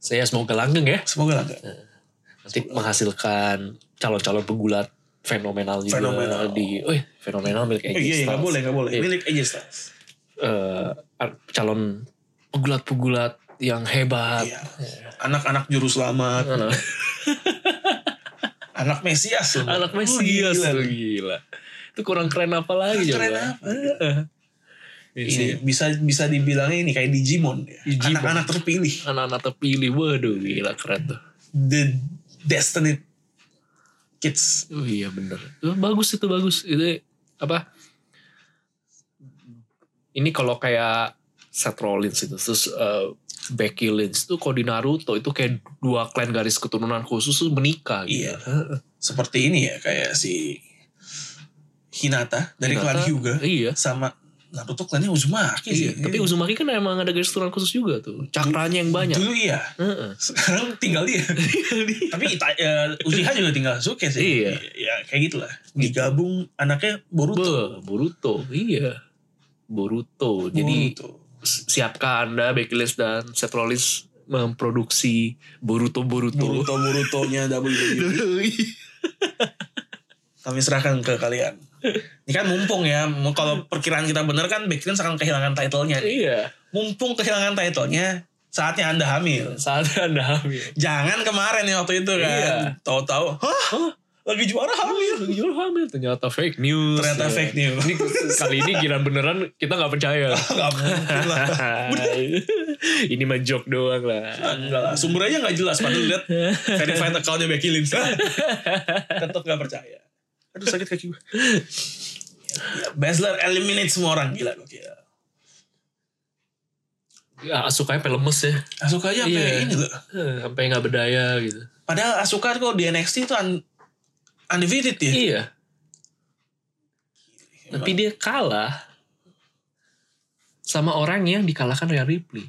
B: Saya semoga langgeng ya.
A: semoga langgeng
B: Nanti menghasilkan calon-calon pegulat fenomenal juga
A: Fenomenal.
B: di oh, fenomenal milik
A: Eh,
B: AJ
A: iya iya nggak
B: Styles.
A: boleh nggak boleh
B: Iya.
A: milik AJ Styles
B: Eh, calon pegulat-pegulat yang hebat.
A: iya anak-anak juru selamat
B: Anak-
A: anak Mesias loh.
B: Anak
A: Oh,
B: Mesias
A: gila.
B: tuh, gila. Itu kurang keren apa Iya, lagi coba?
A: Keren apa?
B: Heeh. Ini sih,
A: ini bisa bisa dibilangnya ini kayak Digimon ya.
B: Digimon.
A: anak-anak terpilih
B: anak-anak terpilih, waduh gila keren tuh.
A: the Destiny Kids
B: Oh iya bener. Eh, Bagus itu bagus. Itu apa? Ini kalau kayak Seth Rollins itu terus eh, Becky Lynch itu kalau di Naruto itu kayak dua klan garis keturunan khusus tuh menikah gitu.
A: Iya. seperti ini ya kayak si Hinata dari
B: Hinata,
A: klan Hyuga
B: Iya.
A: sama Naruto klannya Uzumaki sih.
B: Iya, tapi Uzumaki kan emang ada garis keturunan khusus juga tuh. Cakranya yang banyak.
A: Dulu iya,
B: Heeh.
A: sekarang tinggal dia. tapi Ita, eh, Uchiha juga tinggal Sasuke sih.
B: Iya.
A: Ya kayak gitulah. Digabung anaknya Boruto.
B: Be, Boruto, iya. Boruto. Jadi
A: Boruto.
B: si- siapkah Anda Becky Lynch dan Seth Rollins memproduksi Boruto Boruto.
A: Boruto Borutonya WWE. Kami serahkan ke kalian. Ini kan mumpung ya, mau- kalau perkiraan kita benar kan Backstreet akan kehilangan titlenya.
B: iya,
A: Mumpung kehilangan titlenya, saatnya Anda hamil.
B: saat Anda hamil.
A: Jangan kemarin ya waktu itu kan.
B: Iya.
A: Tahu-tahu, hah?
B: Hah?
A: Lagi juara hamil.
B: Jujur Oh, iya. hamil ternyata fake news.
A: Ternyata
B: Ya.
A: fake news.
B: Ini kali ini kira beneran kita nggak percaya.
A: Gak mungkin lah.
B: ini mah joke doang lah.
A: Enggak lah, sumbernya nggak jelas. Padahal lihat verified accountnya Becky Lynch. Tetap nggak percaya. Aduh sakit kaki gue. Ya, Basler eliminate semua orang gila gue gila.
B: Ya, Asukanya pelemes ya.
A: Asuka aja sampai
B: Iya.
A: ini loh.
B: Eh, Sampai nggak berdaya gitu.
A: Padahal Asuka kalau di NXT itu un- undefeated ya.
B: Iya. Tapi dia kalah sama orang yang dikalahkan Rhea Ripley.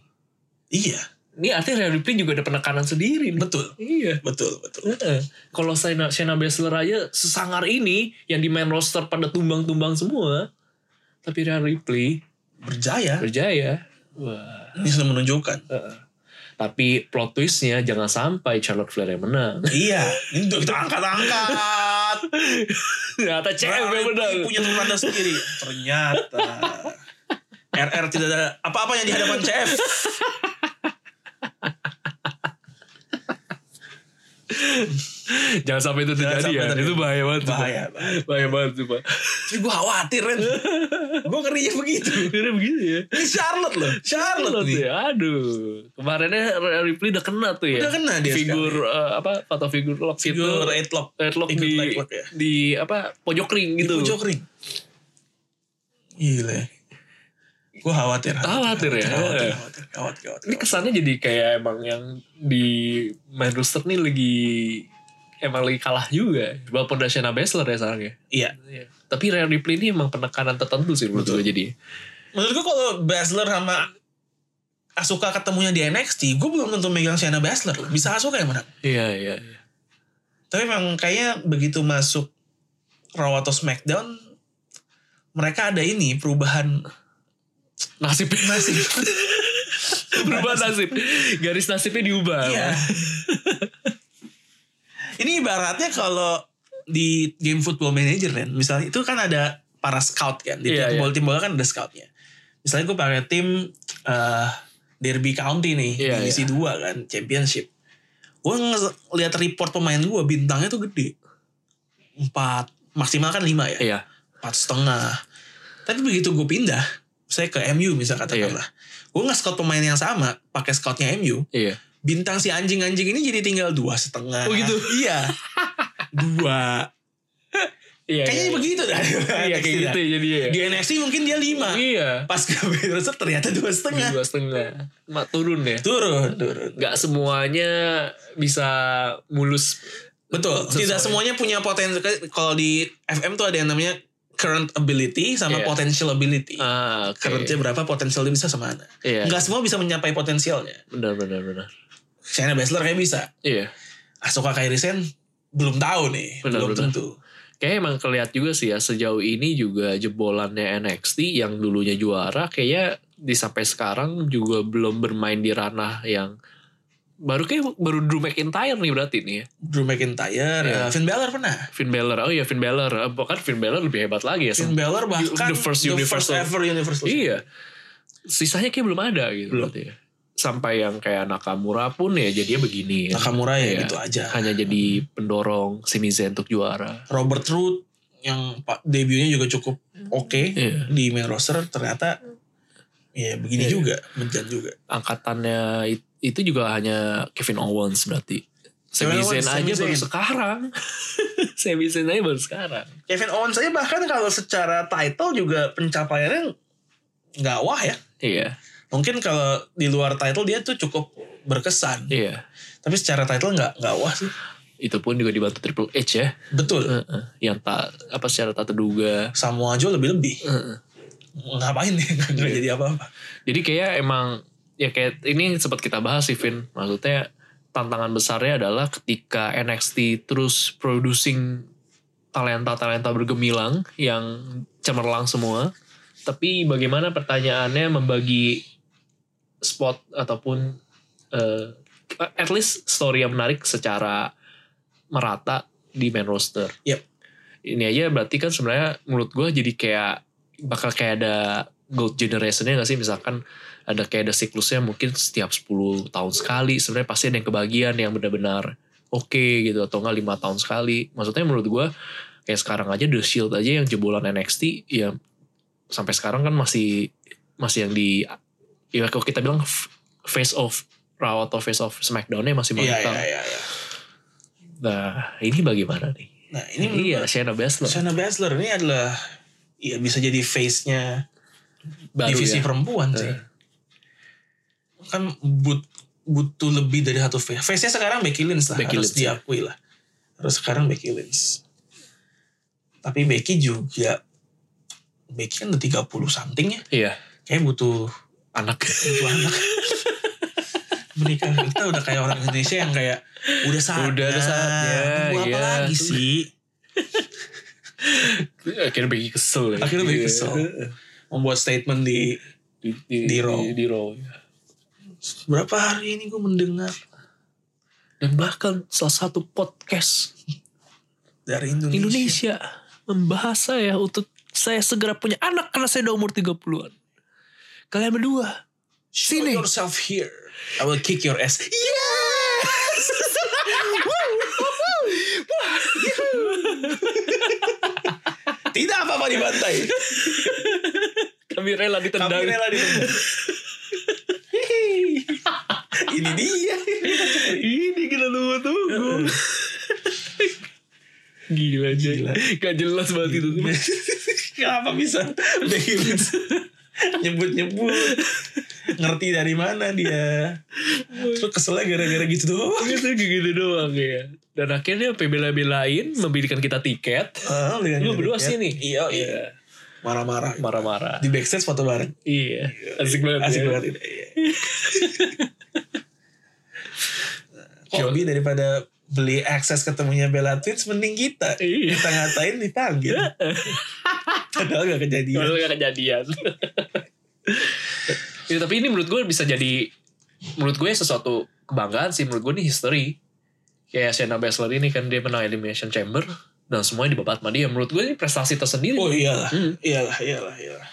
A: Iya,
B: Ini artinya Rhea Ripley juga ada penekanan sendiri. nih.
A: betul.
B: Iya.
A: Betul, betul.
B: Heeh. Kalau Shayna, Shayna Baszler aja sesangar ini yang di main roster pada tumbang-tumbang semua. Tapi Rhea Ripley
A: Berjaya.
B: berjaya. Wah.
A: Ini sudah menunjukkan.
B: Heeh. Tapi plot twistnya jangan sampai Charlotte Flair yang menang.
A: iya, ini udah kita angkat-angkat.
B: Ternyata cewek
A: Rarity
B: yang menang.
A: punya tanda sendiri. Ternyata RR tidak ada apa-apanya di hadapan CF.
B: Jangan sampai itu
A: Jangan
B: terjadi
A: sampai
B: ya.
A: terjadi.
B: Itu bahaya banget. sumpah.
A: Bahaya, bahaya.
B: Bahaya banget sumpah.
A: Tapi gue khawatir Ren. gue ngerinya begitu.
B: Akhirnya begini ya.
A: Ini Charlotte loh. Charlotte,
B: Charlotte
A: nih.
B: ya, aduh. Kemarinnya Rhea Ripley udah kena tuh ya.
A: Udah kena dia
B: Figur eh, apa? Foto figur lock itu.
A: Figur headlock.
B: Headlock
A: Figur
B: di
A: headlock ya.
B: di apa? Pojok ring gitu.
A: Pojok ring. Gila. Gue khawatir.
B: Khawatir
A: Khawatir,
B: ya? Eh.
A: khawatir, khawatir, khawatir.
B: Ini kesannya jadi kayak emang yang di main roster nih lagi emang lagi kalah juga. Walaupun udah Shayna Baszler ya sekarang ya.
A: Iya.
B: Tapi Rhea Ripley ini emang penekanan tertentu sih menurut gue jadi.
A: Menurut gue kalau Basler sama Asuka ketemunya di NXT, gue belum tentu megang Shayna Basler. Bisa Asuka yang menang.
B: Iya, iya, iya.
A: Tapi memang kayaknya begitu masuk Raw atau SmackDown, mereka ada ini perubahan
B: Nasib
A: nasib.
B: berubah nasib. Garis nasibnya diubah.
A: Iya. Ini ibaratnya kalau di game Football Manager kan, misalnya itu kan ada para scout kan, di tiap
B: Iya, iya.
A: bola tim bola kan ada scoutnya. Misalnya gue pakai tim eh, Derby County nih,
B: Iya,
A: divisi
B: iya.
A: dua kan, championship. Gue ngeliat report pemain gue bintangnya tuh gede, empat maksimal kan lima ya
B: Iya.
A: empat setengah. Tapi begitu gue pindah, saya ke MU misal katakanlah, gue nggak scout pemain yang sama, pakai scoutnya MU,
B: Iya.
A: bintang si anjing-anjing ini jadi tinggal dua setengah.
B: Oh gitu?
A: Iya. dua.
B: Iya.
A: Kayaknya
B: iya.
A: begitu dah.
B: Iya kayak gitu ya jadi ya.
A: Di NXT mungkin dia lima.
B: Iya.
A: Pas ke Peterson ternyata dua setengah.
B: Dua setengah. Mak turun ya.
A: Turun, turun.
B: Gak semuanya bisa mulus.
A: Betul. Tidak
B: Sesuai.
A: semuanya punya potensi. Kalau di FM tuh ada yang namanya current ability sama
B: Iya.
A: potential ability.
B: Ah, oke.
A: Currentnya berapa, potensial dia bisa semana.
B: Iya.
A: Nggak semua bisa mencapai potensialnya.
B: Benar benar benar.
A: Shayna Baszler kayak bisa.
B: Iya.
A: Asuka Kairi Sen belum tahu nih.
B: Benar,
A: belum
B: benar.
A: tentu.
B: Kayaknya emang keliat juga sih ya sejauh ini juga jebolannya NXT yang dulunya juara kayaknya di sampai sekarang juga belum bermain di ranah yang baru kayak baru Drew McIntyre nih berarti nih ya.
A: Drew McIntyre,
B: Iya.
A: eh, Finn Balor pernah.
B: Finn Balor. Oh iya Finn Balor. Eh, Bahkan Finn Balor lebih hebat lagi ya.
A: Finn
B: Sem-
A: Balor bahkan
B: The first universal.
A: ever universal.
B: Iya. Sisanya kayak belum ada gitu
A: Belum.
B: berarti ya. Sampai yang kayak Nakamura pun ya jadinya begini ya.
A: Nakamura ya
B: Iya.
A: gitu aja.
B: Hanya jadi pendorong Sami Zayn untuk juara.
A: Robert Root yang pa- debutnya juga cukup oke
B: Iya.
A: di main roster ternyata ya begini
B: Iya.
A: juga, menjan juga.
B: angkatannya it- itu juga hanya Kevin Owens berarti.
A: Kevin
B: Sami Zayn
A: Owens,
B: aja
A: Sami
B: baru
A: Zayn.
B: sekarang. Sami Zayn aja baru sekarang.
A: Kevin Owens aja bahkan kalau secara title juga pencapaiannya nggak wah ya.
B: Iya,
A: Mungkin kalau di luar title dia tuh cukup berkesan.
B: iya.
A: Tapi secara title nggak nggak wah sih.
B: Itu pun juga dibantu Triple H ya.
A: Betul.
B: Heeh. Yang tak apa secara tak terduga.
A: Samoa Joe lebih-lebih.
B: Heeh.
A: Ngapain nih? Nggak
B: Iya.
A: jadi apa-apa.
B: Jadi kayak emang ya kayak ini sempat kita bahas sih Vin. Maksudnya tantangan besarnya adalah ketika NXT terus producing talenta-talenta bergemilang yang cemerlang semua. Tapi bagaimana pertanyaannya membagi spot ataupun eh, at least story yang menarik secara merata di main roster.
A: Yep.
B: Ini aja berarti kan sebenarnya menurut gue jadi kayak bakal kayak ada gold generationnya gak sih misalkan ada kayak ada siklusnya mungkin setiap 10 tahun sekali sebenarnya pasti ada yang kebagian yang benar-benar oke gitu atau enggak lima tahun sekali maksudnya menurut gue kayak sekarang aja The Shield aja yang jebolan NXT ya sampai sekarang kan masih masih yang di ya kalau kita bilang f- face off Raw atau face off Smackdownnya masih
A: Iya,
B: mantap
A: iya, iya. iya.
B: nah ini bagaimana nih
A: Nah ini menurut
B: iya Shayna Baszler
A: Shayna Baszler ini adalah ya bisa jadi face-nya
B: baru
A: divisi
B: ya
A: perempuan sih.
B: Eh.
A: Kan but, butuh lebih dari satu face. Face-nya sekarang Becky Lynch lah,
B: Becky
A: harus
B: Lynch, ya.
A: diakui lah. Harus sekarang Becky Lynch. Tapi Becky juga Becky kan udah 30 something ya.
B: iya
A: Kayak butuh
B: anak
A: butuh anak. Menikah kita udah kayak orang Indonesia yang kayak udah saatnya.
B: Udah ada saatnya,
A: Nunggu apa
B: iya.
A: lagi sih?
B: Iya, akhirnya Becky kesel ya.
A: Akhirnya Becky
B: Iya.
A: kesel. Membuat statement di
B: di, di,
A: Di Raw.
B: di- di Raw, ya.
A: berapa hari ini gue mendengar
B: dan bahkan salah satu podcast
A: dari Indonesia.
B: Indonesia membahas saya untuk saya segera punya anak karena saya udah umur 30-an kalian berdua
A: Show
B: Sini.
A: yourself here. I will kick your ass. Yes! Tidak apa-apa dibantai.
B: kami rela ditendang
A: Kami rela ditendang. Hihi. Ini dia.
B: ini kita tunggu tunggu gila aja
A: Gila.
B: gak jelas banget itu
A: Kenapa bisa Becky Lynch nyebut-nyebut ngerti dari mana dia terus keselnya gara-gara gitu doang
B: itu gitu doang ya dan akhirnya bela-belain membelikan kita tiket
A: Ah, dengan
B: lu berdua
A: gara-gara.
B: sini
A: iya iya marah-marah
B: marah-marah
A: di backstage foto bareng
B: Iya, asik banget.
A: asik
B: ya.
A: banget ini, iya. Kok lebih daripada beli akses ketemunya Bella Twins mending kita
B: Iya.
A: kita ngatain dipanggil padahal gak kejadian
B: Padahal gak kejadian. ya, tapi ini menurut gue bisa jadi menurut gue sesuatu kebanggaan sih menurut gue ini history. Kayak Shayna Baszler ini kan dia menang Elimination Chamber dan semuanya dibabat sama dia. Menurut gue ini prestasi tersendiri.
A: oh iyalah
B: Hmm.
A: iyalah iyalah iyalah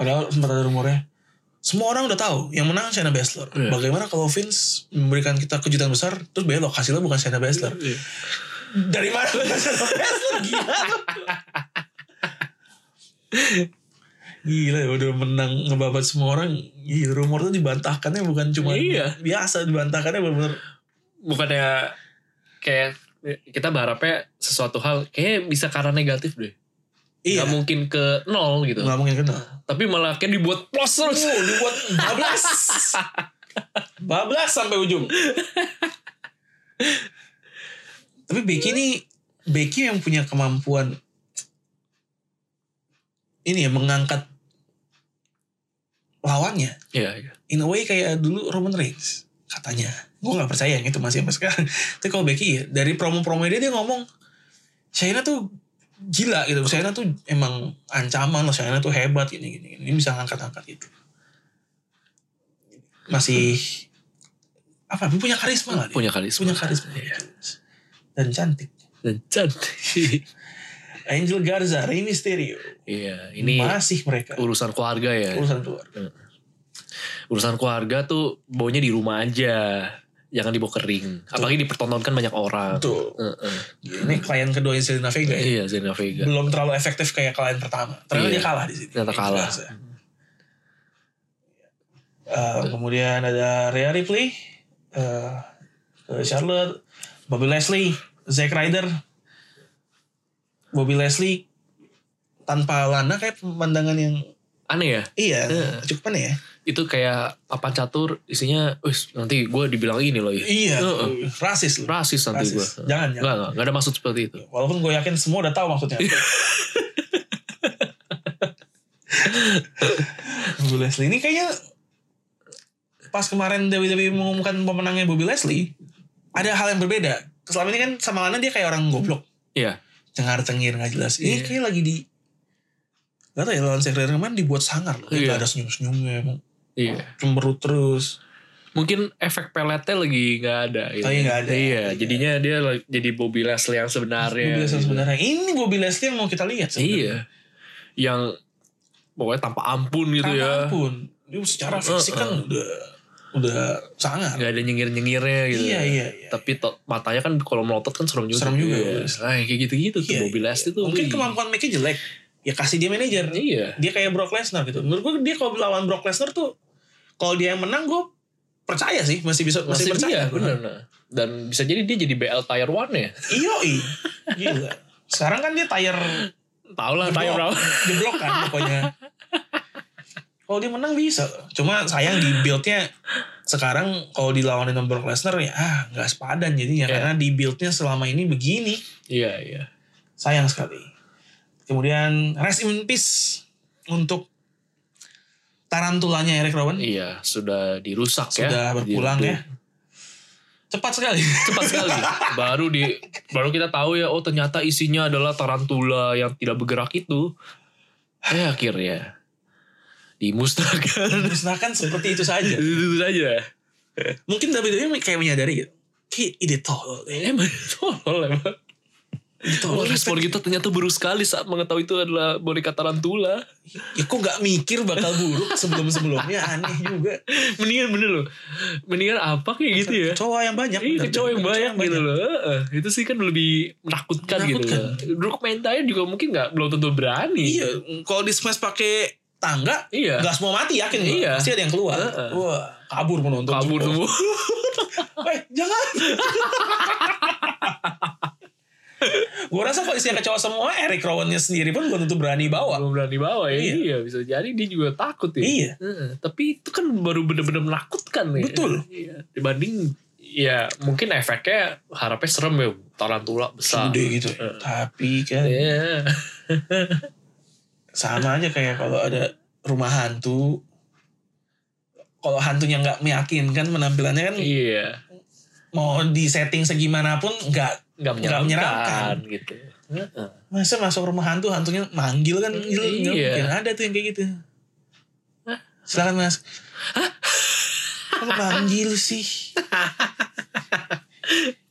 A: padahal sempat ada rumornya semua orang udah tahu yang menang Shayna Baszler
B: Iya.
A: bagaimana kalau Vince memberikan kita kejutan besar terus belok hasilnya bukan Shayna Baszler
B: Iya.
A: dari mana lu bisa stres lu gila lu. Gila ya udah menang ngebabat semua orang Gila rumor tuh dibantahkannya bukan cuma
B: Iya.
A: Biasa dibantahkannya bener-bener
B: Bukannya kayak kita berharapnya sesuatu hal kayak bisa karena negatif deh.
A: Iya
B: Gak mungkin ke nol gitu.
A: Gak mungkin kan? kenal
B: Tapi malah kayak dibuat plus terus.
A: Tuh dibuat bablas Bablas sampai ujung Tapi Becky ini Becky yang punya kemampuan ini ya mengangkat lawannya
B: Iya, iya.
A: in a way kayak dulu Roman Reigns katanya gue nggak percaya yang itu masih sampai sekarang tapi kalau Becky ya dari promo-promo dia dia ngomong China tuh gila gitu China tuh emang ancaman loh China tuh hebat gini gini gini. ini bisa ngangkat-ngangkat itu masih apa punya karisma lah Nah, dia.
B: Punya karisma.
A: punya karisma
B: Iya.
A: dan cantik
B: Dan cantik.
A: Angel Garza Rey Mysterio
B: Iya, ini
A: masih mereka
B: urusan keluarga ya.
A: urusan keluar
B: Urusan keluarga tuh baunya di rumah aja. Jangan dibawa kering. Apalagi dipertontonkan banyak orang.
A: betul
B: Heeh.
A: ini klien kedua Selena Vega ya.
B: Iya, Zelina Vega.
A: belum terlalu efektif kayak klien pertama. Ternyata
B: Iya.
A: dia kalah di Gitu sini.
B: Ternyata kalah.
A: Eh, kemudian ada Rhea Ripley, eh, ke Charlotte, Bobby Leslie, Zack Ryder, Bobby Leslie tanpa Lana kayak pemandangan yang
B: Aneh ya?
A: iya
B: Iya.
A: cukup aneh ya.
B: Itu kayak papan catur isinya, wis nanti gue dibilang ini loh ya.
A: Iya,
B: Heeh.
A: rasis loh.
B: Rasis nanti gue.
A: Rasis. Jangan, jangan.
B: Enggak, enggak. Enggak ada maksud seperti itu.
A: Walaupun gue yakin semua udah tahu maksudnya.
B: Iya.
A: apa. Bobby Leslie ini kayaknya pas kemarin WWE mengumumkan pemenangnya Bobby Leslie, ada hal yang berbeda. Selama ini kan sama Lana dia kayak orang goblok,
B: Iya.
A: cengar cengir nggak jelas. Ini
B: Iya.
A: kayak lagi di Gak tau ya lawan sekretari kemarin dibuat sangar loh.
B: Iya.
A: Gak ada senyum-senyumnya. emang
B: Iya.
A: Cemberut terus.
B: Mungkin efek peletnya lagi nggak ada. Gitu.
A: Lagi nggak ada.
B: Iya, jadinya dia la- jadi Bobby Leslie yang sebenarnya.
A: Bobby Leslie
B: gitu.
A: sebenarnya. Ini Bobby Leslie yang mau kita lihat. sebenarnya.
B: Iya. Yang pokoknya tanpa ampun gitu
A: Karena
B: ya.
A: ampun. Dia secara fisik kan udah udah sangar.
B: nggak ada nyengir-nyengirnya gitu.
A: Iya, iya, iya.
B: Tapi to- matanya kan kalau melotot kan serem juga.
A: Serem juga,
B: Iya.
A: Bobby Leslie.
B: Nah, kayak gitu-gitu tuh
A: Iya,
B: Bobby Leslie tuh.
A: Mungkin
B: wih.
A: kemampuan make jelek. Ya kasih dia manajer.
B: Iya.
A: Dia kayak Brock Lesnar gitu. Menurut gue dia kalau lawan Brock Lesnar tuh kalau dia yang menang gue percaya sih masih bisa masih,
B: Masih
A: percaya.
B: dia, bener. nah. Dan bisa jadi dia jadi BL Tire One ya.
A: Iyo Gila. Sekarang kan dia tire
B: Tahu lah Tire
A: jeblok,
B: One.
A: jeblok kan pokoknya. Kalau dia menang bisa. Cuma sayang di buildnya sekarang kalau dilawanin sama Brock Lesnar ya ah nggak sepadan jadinya
B: Iya.
A: karena di buildnya selama ini begini.
B: Iya, iya.
A: Sayang sekali. Kemudian rest in peace untuk tarantulanya Eric Rowan.
B: Iya, sudah dirusak ya.
A: Sudah berpulang
B: Di-
A: ya. Cepat sekali.
B: cepat sekali. baru di baru kita tahu ya oh ternyata isinya adalah tarantula yang tidak bergerak itu. Eh akhirnya dimusnahkan.
A: Musnahkan seperti itu saja.
B: Itu saja.
A: Mungkin WWE kayak menyadari gitu. Ki, ide tolol. Eh,
B: Emang tolol emang.
A: ide
B: Oh,
A: tolol.
B: respon kita ternyata baru sekali saat mengetahui itu adalah boneka tarantula.
A: Ya kok gak mikir bakal buruk sebelum-sebelumnya. Aneh juga.
B: Mendingan bener loh. Mendingan apa kayak gitu ya.
A: Kecoa yang banyak.
B: Iya
A: bener.
B: kecoa yang banyak gitu loh. Heeh, Itu sih kan lebih menakutkan, gitu loh. Dulu mentalnya juga mungkin nggak belum tentu berani.
A: Iya. Kalau di smash pakai tangga.
B: Iya.
A: Gak semua mati yakin. gua.
B: Iya.
A: Pasti ada yang keluar.
B: Heeh.
A: Wah, kabur penonton.
B: Kabur
A: semua.
B: semua.
A: Eh, jangan. gue rasa kalau isinya kecewa semua, Eric Rowannya sendiri pun belum tentu berani bawa.
B: belum berani bawa ya.
A: Iya.
B: Iya. bisa jadi dia juga takut ya.
A: Iya.
B: Heeh, tapi itu kan baru bener-bener menakutkan ya.
A: Betul.
B: Iya. Dibanding ya mungkin efeknya harapnya serem ya tarantula besar.
A: Gede gitu.
B: Eh.
A: ya. Tapi kan
B: Iya.
A: sama aja kayak kalau ada rumah hantu. Kalau hantunya nggak meyakinkan penampilannya kan
B: Iya.
A: mau di setting segimanapun nggak
B: Nggak
A: Nggak
B: menyeramkan,
A: menyeramkan.
B: gitu. Heeh.
A: masa masuk rumah hantu hantunya manggil kan gila,
B: Iya.
A: nggak mungkin ada tuh yang kayak gitu. Silakan mas. Hah? Kalau manggil sih.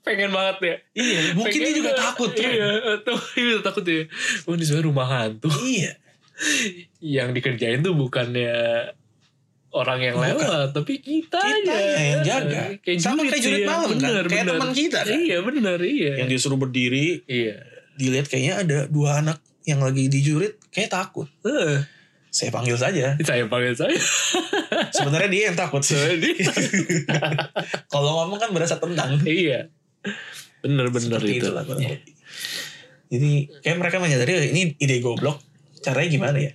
B: Pengen banget ya.
A: Iya, mungkin
B: Pengen
A: dia juga
B: banget.
A: takut. Tren.
B: Iya, tuh iya takut ya. Oh, ini sebenarnya rumah hantu.
A: Iya.
B: Yang dikerjain tuh bukannya orang yang
A: Bukan.
B: lewat, tapi kita,
A: Kita yang jaga. Sama kayak jurit
B: ya.
A: malam kan?
B: Bener,
A: Kayak
B: bener.
A: teman kita kan?
B: Iya, benar, iya.
A: Yang disuruh berdiri,
B: Iya.
A: dilihat kayaknya ada dua anak yang lagi dijurit, kayak takut.
B: Heeh.
A: Saya panggil saja.
B: saya panggil saya.
A: Sebenarnya dia yang takut.
B: Jadi,
A: Kalau ngomong kan berasa tentang.
B: iya. Bener-bener
A: Seperti
B: itu. Iya.
A: itulah kurang lebih. Jadi kayak mereka menyadari "Oh, ini ide goblok. Caranya gimana ya?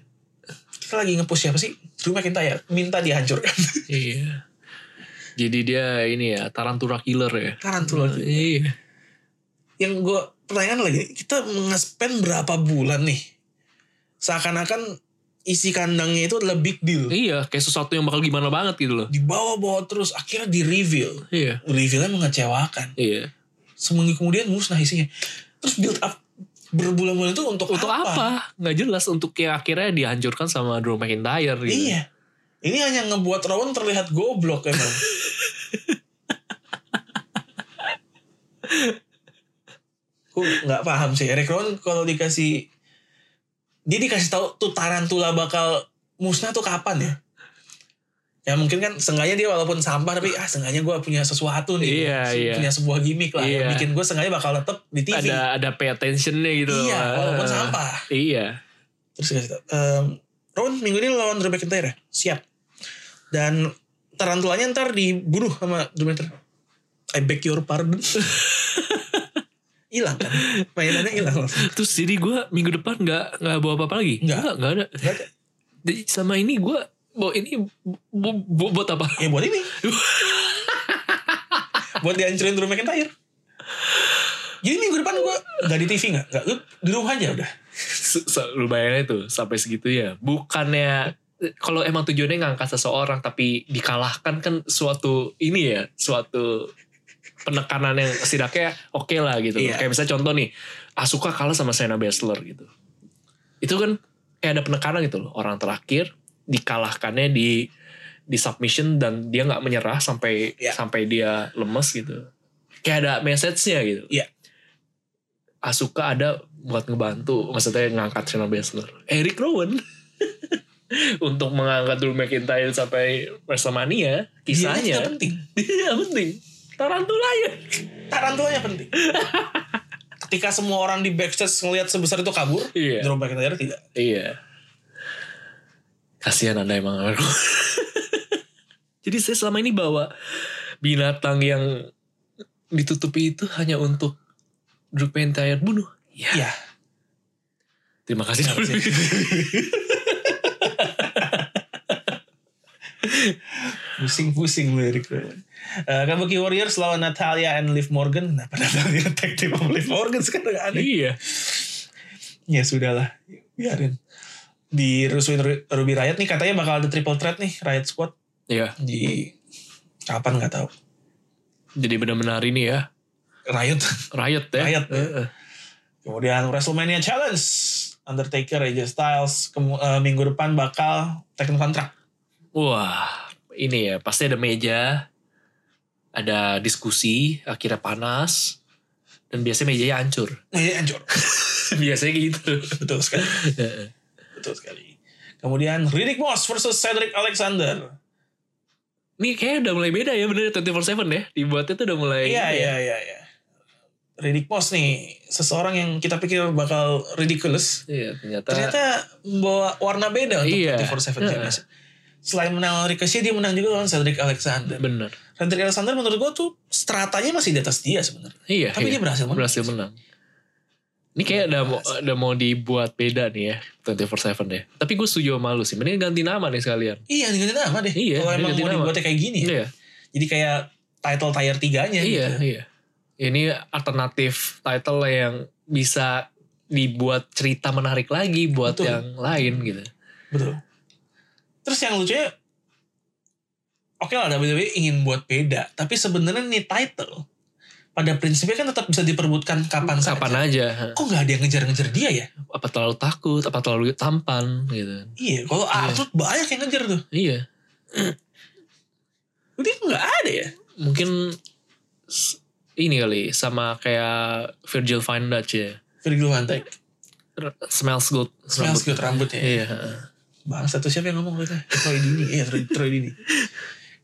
A: Kita lagi nge-push siapa sih? Drew McIntyre. Minta dihancurkan.
B: Iya. Jadi dia ini ya, tarantula killer ya.
A: Tarantula. tuh.
B: Iya.
A: Yang gue pertanyaan lagi. Kita nge-spend berapa bulan nih? Seakan-akan isi kandangnya itu adalah big deal.
B: Iya, kayak sesuatu yang bakal gimana banget gitu loh.
A: Dibawa-bawa terus akhirnya di reveal.
B: Iya.
A: Revealnya mengecewakan.
B: Iya.
A: Seminggu kemudian musnah isinya. Terus build up berbulan-bulan itu untuk,
B: Untuk apa? Nggak jelas untuk yang akhirnya dihancurkan sama Drew McIntyre gitu.
A: Iya. Ini hanya ngebuat Rowan terlihat goblok emang. Aku nggak paham sih. Eric Rowan kalau dikasih dia dikasih tahu tuh tarantula bakal musnah tuh kapan ya? Ya mungkin kan sengaja dia walaupun sampah tapi ah sengaja gue punya sesuatu nih.
B: Iya,
A: Se-
B: iya.
A: Punya sebuah gimmick lah yang
B: Iya.
A: bikin gue sengaja bakal tetap di TV.
B: Ada ada pay attentionnya gitu.
A: Iya,
B: loh.
A: walaupun
B: Eh,
A: sampah.
B: Iya.
A: Terus dikasih tau. Ehm, Rowan minggu ini lawan Drew McIntyre ya? Siap. Dan tarantulanya ntar dibunuh sama Drew McIntyre. I beg your pardon. Hilang kan? Mainannya hilang langsung.
B: Terus jadi gue minggu depan nggak nggak bawa apa-apa lagi?
A: Nggak.
B: Nggak, nggak ada.
A: Nggak ada.
B: Jadi selama ini gue bawa ini bu- bu- buat apa?
A: Ya buat ini. buat dihancurin Drew McIntyre. Jadi minggu depan gue gak di TV gak? Gak, lu di rumah aja udah.
B: Se- se- Lu bayangin itu sampai segitu ya. Bukannya kalau emang tujuannya ngangkat seseorang tapi dikalahkan kan suatu ini ya, suatu penekanan yang setidaknya oke lah gitu.
A: Iya.
B: Kayak misalnya contoh nih, Asuka kalah sama Shayna Baszler gitu. Itu kan kayak ada penekanan gitu loh. Orang terakhir dikalahkannya di di submission dan dia nggak menyerah sampai
A: Iya.
B: sampai dia lemes gitu. Kayak ada message-nya gitu.
A: Iya.
B: Asuka ada buat ngebantu, maksudnya ngangkat Shayna Baszler. Eric Rowan untuk mengangkat Drew McIntyre sampai WrestleMania,
A: Dianya
B: kisahnya
A: juga penting.
B: dia penting. Tarantula ya.
A: Tarantulanya penting. Ketika semua orang di backstage ngelihat sebesar itu kabur,
B: Iya.
A: Drew McIntyre tidak.
B: Iya. Kasihan Anda emang. Jadi saya selama ini bawa binatang yang ditutupi itu hanya untuk Drew McIntyre bunuh. Ya.
A: Iya.
B: Terima kasih.
A: Terima kasih. Pusing-pusing lu Eric Rowan. Eh, Kabuki Warriors lawan Natalia and Liv Morgan. Kenapa Natalia tag team sama Liv Morgan sekarang aneh?
B: iya.
A: Ya sudahlah, biarin. Di Rusuin Ru- Ruby Riot nih katanya bakal ada triple threat nih Riot Squad
B: Iya.
A: di kapan nggak tahu.
B: Jadi benar-benar ini ya.
A: Riot.
B: Riot ya.
A: Riot, ya.
B: Eh, eh.
A: Kemudian WrestleMania Challenge Undertaker AJ Styles Kemu- eh, minggu depan bakal taken kontrak.
B: Wah, ini ya pasti ada meja, ada diskusi, akhirnya panas, dan biasanya mejanya hancur.
A: Iya hancur.
B: biasanya gitu.
A: Betul sekali.
B: Eh,
A: Betul sekali. Kemudian Riddick Moss versus Cedric Alexander.
B: Ini kayaknya udah mulai beda ya bener 24/7 ya. Dibuatnya tuh udah mulai
A: Iya
B: gitu ya.
A: iya iya iya. Riddick Moss nih seseorang yang kita pikir bakal ridiculous
B: Iya, ternyata,
A: ternyata membawa warna beda untuk 24/7
B: Iya. Heeh.
A: Championship. Selain menang lawan Ricochet dia menang juga lawan Cedric Alexander.
B: bener.
A: Cedric Alexander menurut gua tuh stratanya masih di atas dia sebenarnya.
B: Iya.
A: Tapi
B: iya.
A: dia berhasil menang.
B: berhasil menang. Ini kayak udah mau, udah mau dibuat beda nih ya 24/7 ya. Tapi gue setuju sama lu sih. Mending ganti nama nih sekalian.
A: Iya diganti nama deh.
B: Iya,
A: Kalau emang
B: diganti
A: mau
B: nama.
A: dibuatnya kayak gini ya.
B: Iya.
A: Jadi kayak title tier tiganya
B: Iya,
A: gitu.
B: iya. Ini alternatif title yang bisa dibuat cerita menarik lagi buat
A: Betul.
B: yang lain gitu.
A: Betul. Terus yang lucunya Oke lah WWE ingin buat beda, tapi sebenarnya nih title pada prinsipnya kan tetap bisa diperbutkan kapan
B: Kapan
A: saja.
B: aja.
A: Kok nggak ada yang ngejar-ngejar dia ya?
B: Apa terlalu takut, apa terlalu tampan gitu.
A: Iya, kalau Arthur banyak yang ngejar tuh.
B: Iya.
A: Dia nggak ada ya?
B: mungkin s- ini kali sama kayak Virgil Van Dutch ya.
A: Virgil Van Dijk.
B: R- smells good.
A: Smells
B: rambut.
A: good ya. rambutnya.
B: Iya.
A: Bang, satu siapa yang ngomong itu? Troy Dini. Iya, Troy, Troy Dini.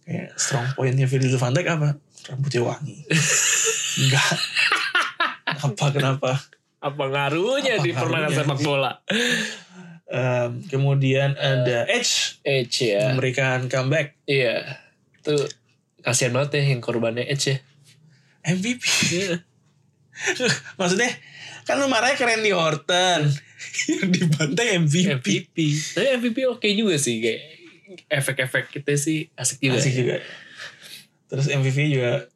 A: Kayak strong pointnya Virgil Van Dijk apa? Rambutnya wangi. Enggak. Apa kenapa?
B: Apa
A: Apa
B: ngaruhnya di permainan
A: ngaruhnya?
B: sepak bola?
A: Em, kemudian ada Edge
B: Edge ya.
A: memberikan comeback
B: Iya. Tuh kasihan banget ya yang korbannya Edge ya.
A: MVP.
B: Iya.
A: Maksudnya kan lu marahnya ke Randy Orton yang dibantai MVP.
B: MVP. Tapi MVP oke juga sih kayak efek-efek kita sih asik juga. ya.
A: Asik juga. Terus MVP juga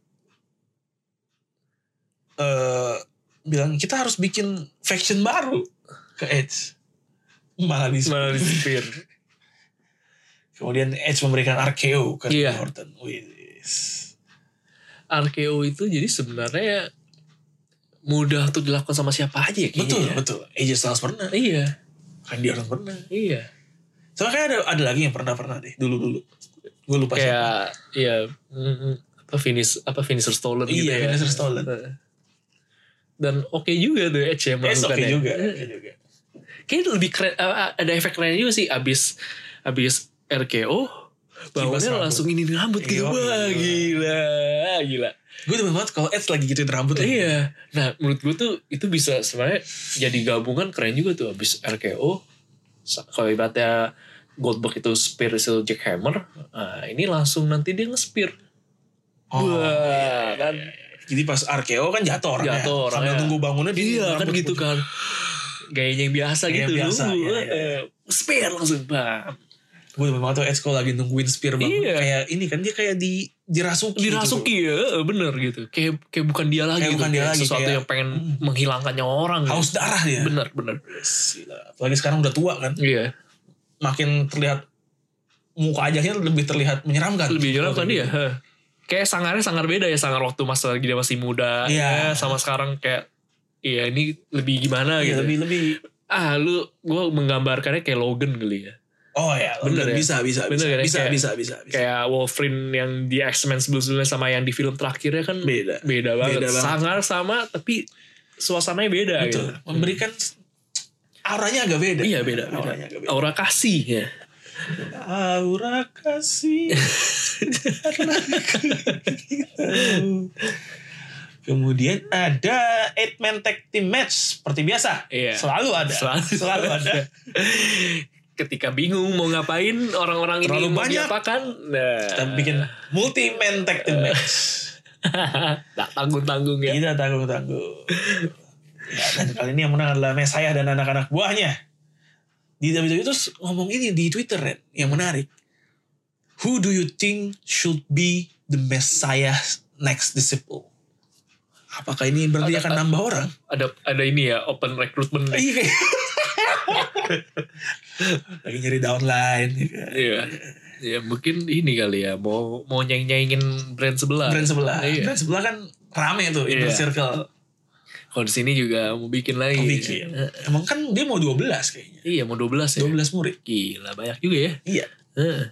A: eh bilang kita harus bikin faction baru ke Edge. malah di
B: Malah disipir.
A: Kemudian Edge memberikan RKO ke
B: Iya.
A: Orton. Wis.
B: RKO itu jadi sebenarnya mudah untuk dilakukan sama siapa aja ya kayaknya.
A: Betul,
B: ya.
A: betul. AJ Styles pernah.
B: Iya,
A: Randy Orton pernah.
B: iya.
A: Soalnya kayak ada, ada lagi yang pernah-pernah deh. Dulu-dulu. Gue lupa siapa. Eh,
B: Kayak iya mm, mm, apa finish apa finisher stolen gitu
A: Iya,
B: ya.
A: finisher stolen.
B: Heeh. Dan oke juga tuh Edge yang
A: Edge oke
B: melakukannya.
A: juga. oke juga.
B: Kayaknya lebih keren, eh, ada efek keren juga sih abis abis RKO
A: Kibas
B: bangunnya
A: rambut.
B: langsung ini rambut gitu.
A: Iya,
B: Wah,
A: iya.
B: gila, Ah, gila.
A: Gue demen banget kalau Edge lagi gituin rambut. ya. lagi.
B: Iya. Nah, menurut gue tuh itu bisa sebenarnya jadi gabungan keren juga tuh abis RKO. sa- Kalau ibaratnya Goldberg itu spear hasil jackhammer, nah, ini langsung nanti dia nge-spear.
A: Oh, iya,
B: Wah, kan
A: Jadi pas RKO kan jatuh orangnya.
B: Jatuh orangnya.
A: Sambil tunggu bangunnya dia
B: iya kan
A: rambut
B: gitu
A: putih.
B: kan. Gayanya yang biasa
A: Gaya
B: gitu
A: biasa,
B: nunggu,
A: iya, Gitu, iya.
B: eh, spear langsung Nah, bam.
A: Gue demen banget tuh Edge kalau lagi nungguin spear bangun.
B: Iya.
A: Kayak ini kan dia kayak di dirasuki. gitu.
B: Dirasuki ya, bener gitu. Kayak kayak bukan dia lagi.
A: Kayak
B: gitu.
A: bukan dia
B: Kayak
A: lagi,
B: Sesuatu
A: kayak-
B: yang pengen
A: Hmm.
B: menghilangkannya orang. gitu.
A: Haus iya. darah dia.
B: Bener, bener.
A: Gila. Apalagi sekarang udah tua kan.
B: Iya.
A: Makin terlihat muka ajaknya lebih terlihat menyeramkan.
B: lebih jelas kan dia heh. kayak sangarnya sangar beda ya sangar waktu masa lagi dia masih muda
A: Iya.
B: ya, sama sekarang kayak iya ini lebih gimana
A: Iya,
B: gitu
A: lebih lebih.
B: ah lu gue menggambarkannya kayak Logan kali ya
A: Oh ya,
B: Bener ya?
A: bisa, bisa, bisa,
B: Bener kan ya?
A: bisa,
B: Kayak-
A: bisa, bisa, bisa.
B: kayak Wolverine yang di X-Men sebelumnya sama yang di film terakhirnya kan beda,
A: Beda.
B: banget.
A: Beda banget.
B: sangar sama tapi suasananya beda
A: Betul.
B: gitu
A: Memberikan auranya agak beda.
B: iya beda, beda.
A: Auranya agak beda. Iya.
B: aura kasih ya
A: Aura kasih. Kemudian ada eight man tag team match seperti biasa.
B: Iya.
A: Selalu ada.
B: Selalu-
A: ada.
B: ketika bingung mau ngapain orang-orang ini
A: Terlalu
B: mau
A: banyak.
B: diapakan nah
A: Kita bikin multi man tag team match.
B: tak tanggung-tanggung ya
A: Tidak tanggung-tanggung. ya, dan kali ini yang menang adalah saya dan anak-anak buahnya. Di WWE terus ngomong ini di Twitter, Ren, yang menarik. Who do you think should be the Messiah next disciple? Apakah ini berarti akan nambah orang?
B: ada ada ini ya open recruitment
A: Iya. kayak- Lagi nyari downline.
B: Iya. Ya mungkin ini kali ya mau mau nyaing nyaingin brand sebelah.
A: Brand sebelah.
B: Iya.
A: Brand sebelah kan rame tuh, inner
B: Iya.
A: circle.
B: Kalau di sini juga mau bikin lagi.
A: Bikin.
B: Eh,
A: Emang kan dia mau 12 kayaknya.
B: Iya mau 12 ya.
A: 12 murid.
B: Gila banyak juga ya.
A: Iya.
B: Eh,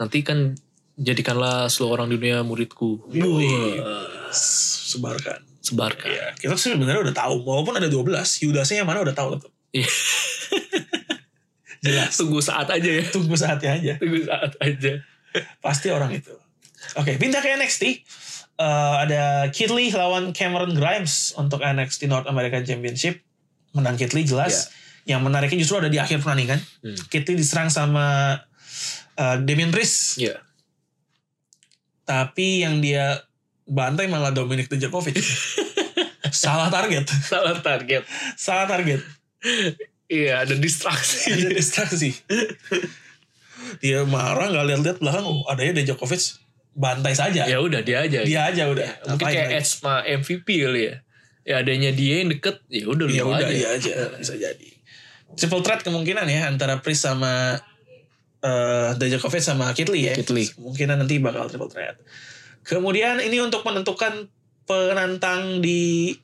B: Nanti kan jadikanlah seluruh orang dunia muridku.
A: Yoi.
B: Wah,
A: Sebarkan.
B: Sebarkan.
A: Iya. Iya, kita sebenarnya udah tahu. Walaupun ada 12, Yudasnya yang mana udah tahu tuh.
B: Iya.
A: Jelas.
B: Tunggu saat aja ya.
A: Tunggu saatnya aja.
B: Tunggu saat aja.
A: Pasti orang itu. Oke, pindah ke NXT. Eh, ada Kid Lee lawan Cameron Grimes untuk NXT North American Championship. Menang Kid Lee jelas. Yang menariknya justru ada di akhir pertandingan.
B: Iya.
A: kan?
B: Hmm.
A: Kid Lee diserang sama eh, Damien Priest.
B: Iya.
A: Tapi yang dia bantai malah Dominic Dijakovic. Salah target.
B: Salah target.
A: Salah target.
B: Iya ada
A: ada
B: distraksi.
A: distraksi. dia marah nggak lihat-lihat belakang, oh, adanya Dejokovic bantai saja.
B: ya udah dia aja.
A: Dia aja udah.
B: Iya, Mungkin
A: Ngapain
B: kayak
A: lagi?
B: Edge sama MVP kali ya. Ya adanya dia yang deket, ya udah
A: ya
B: lu
A: udah
B: aja.
A: dia aja bisa jadi. Triple threat kemungkinan ya antara Pris sama eh Dejokovic sama Kitli ya.
B: Kid Lee.
A: Kemungkinan nanti bakal triple threat. Kemudian ini untuk menentukan penantang di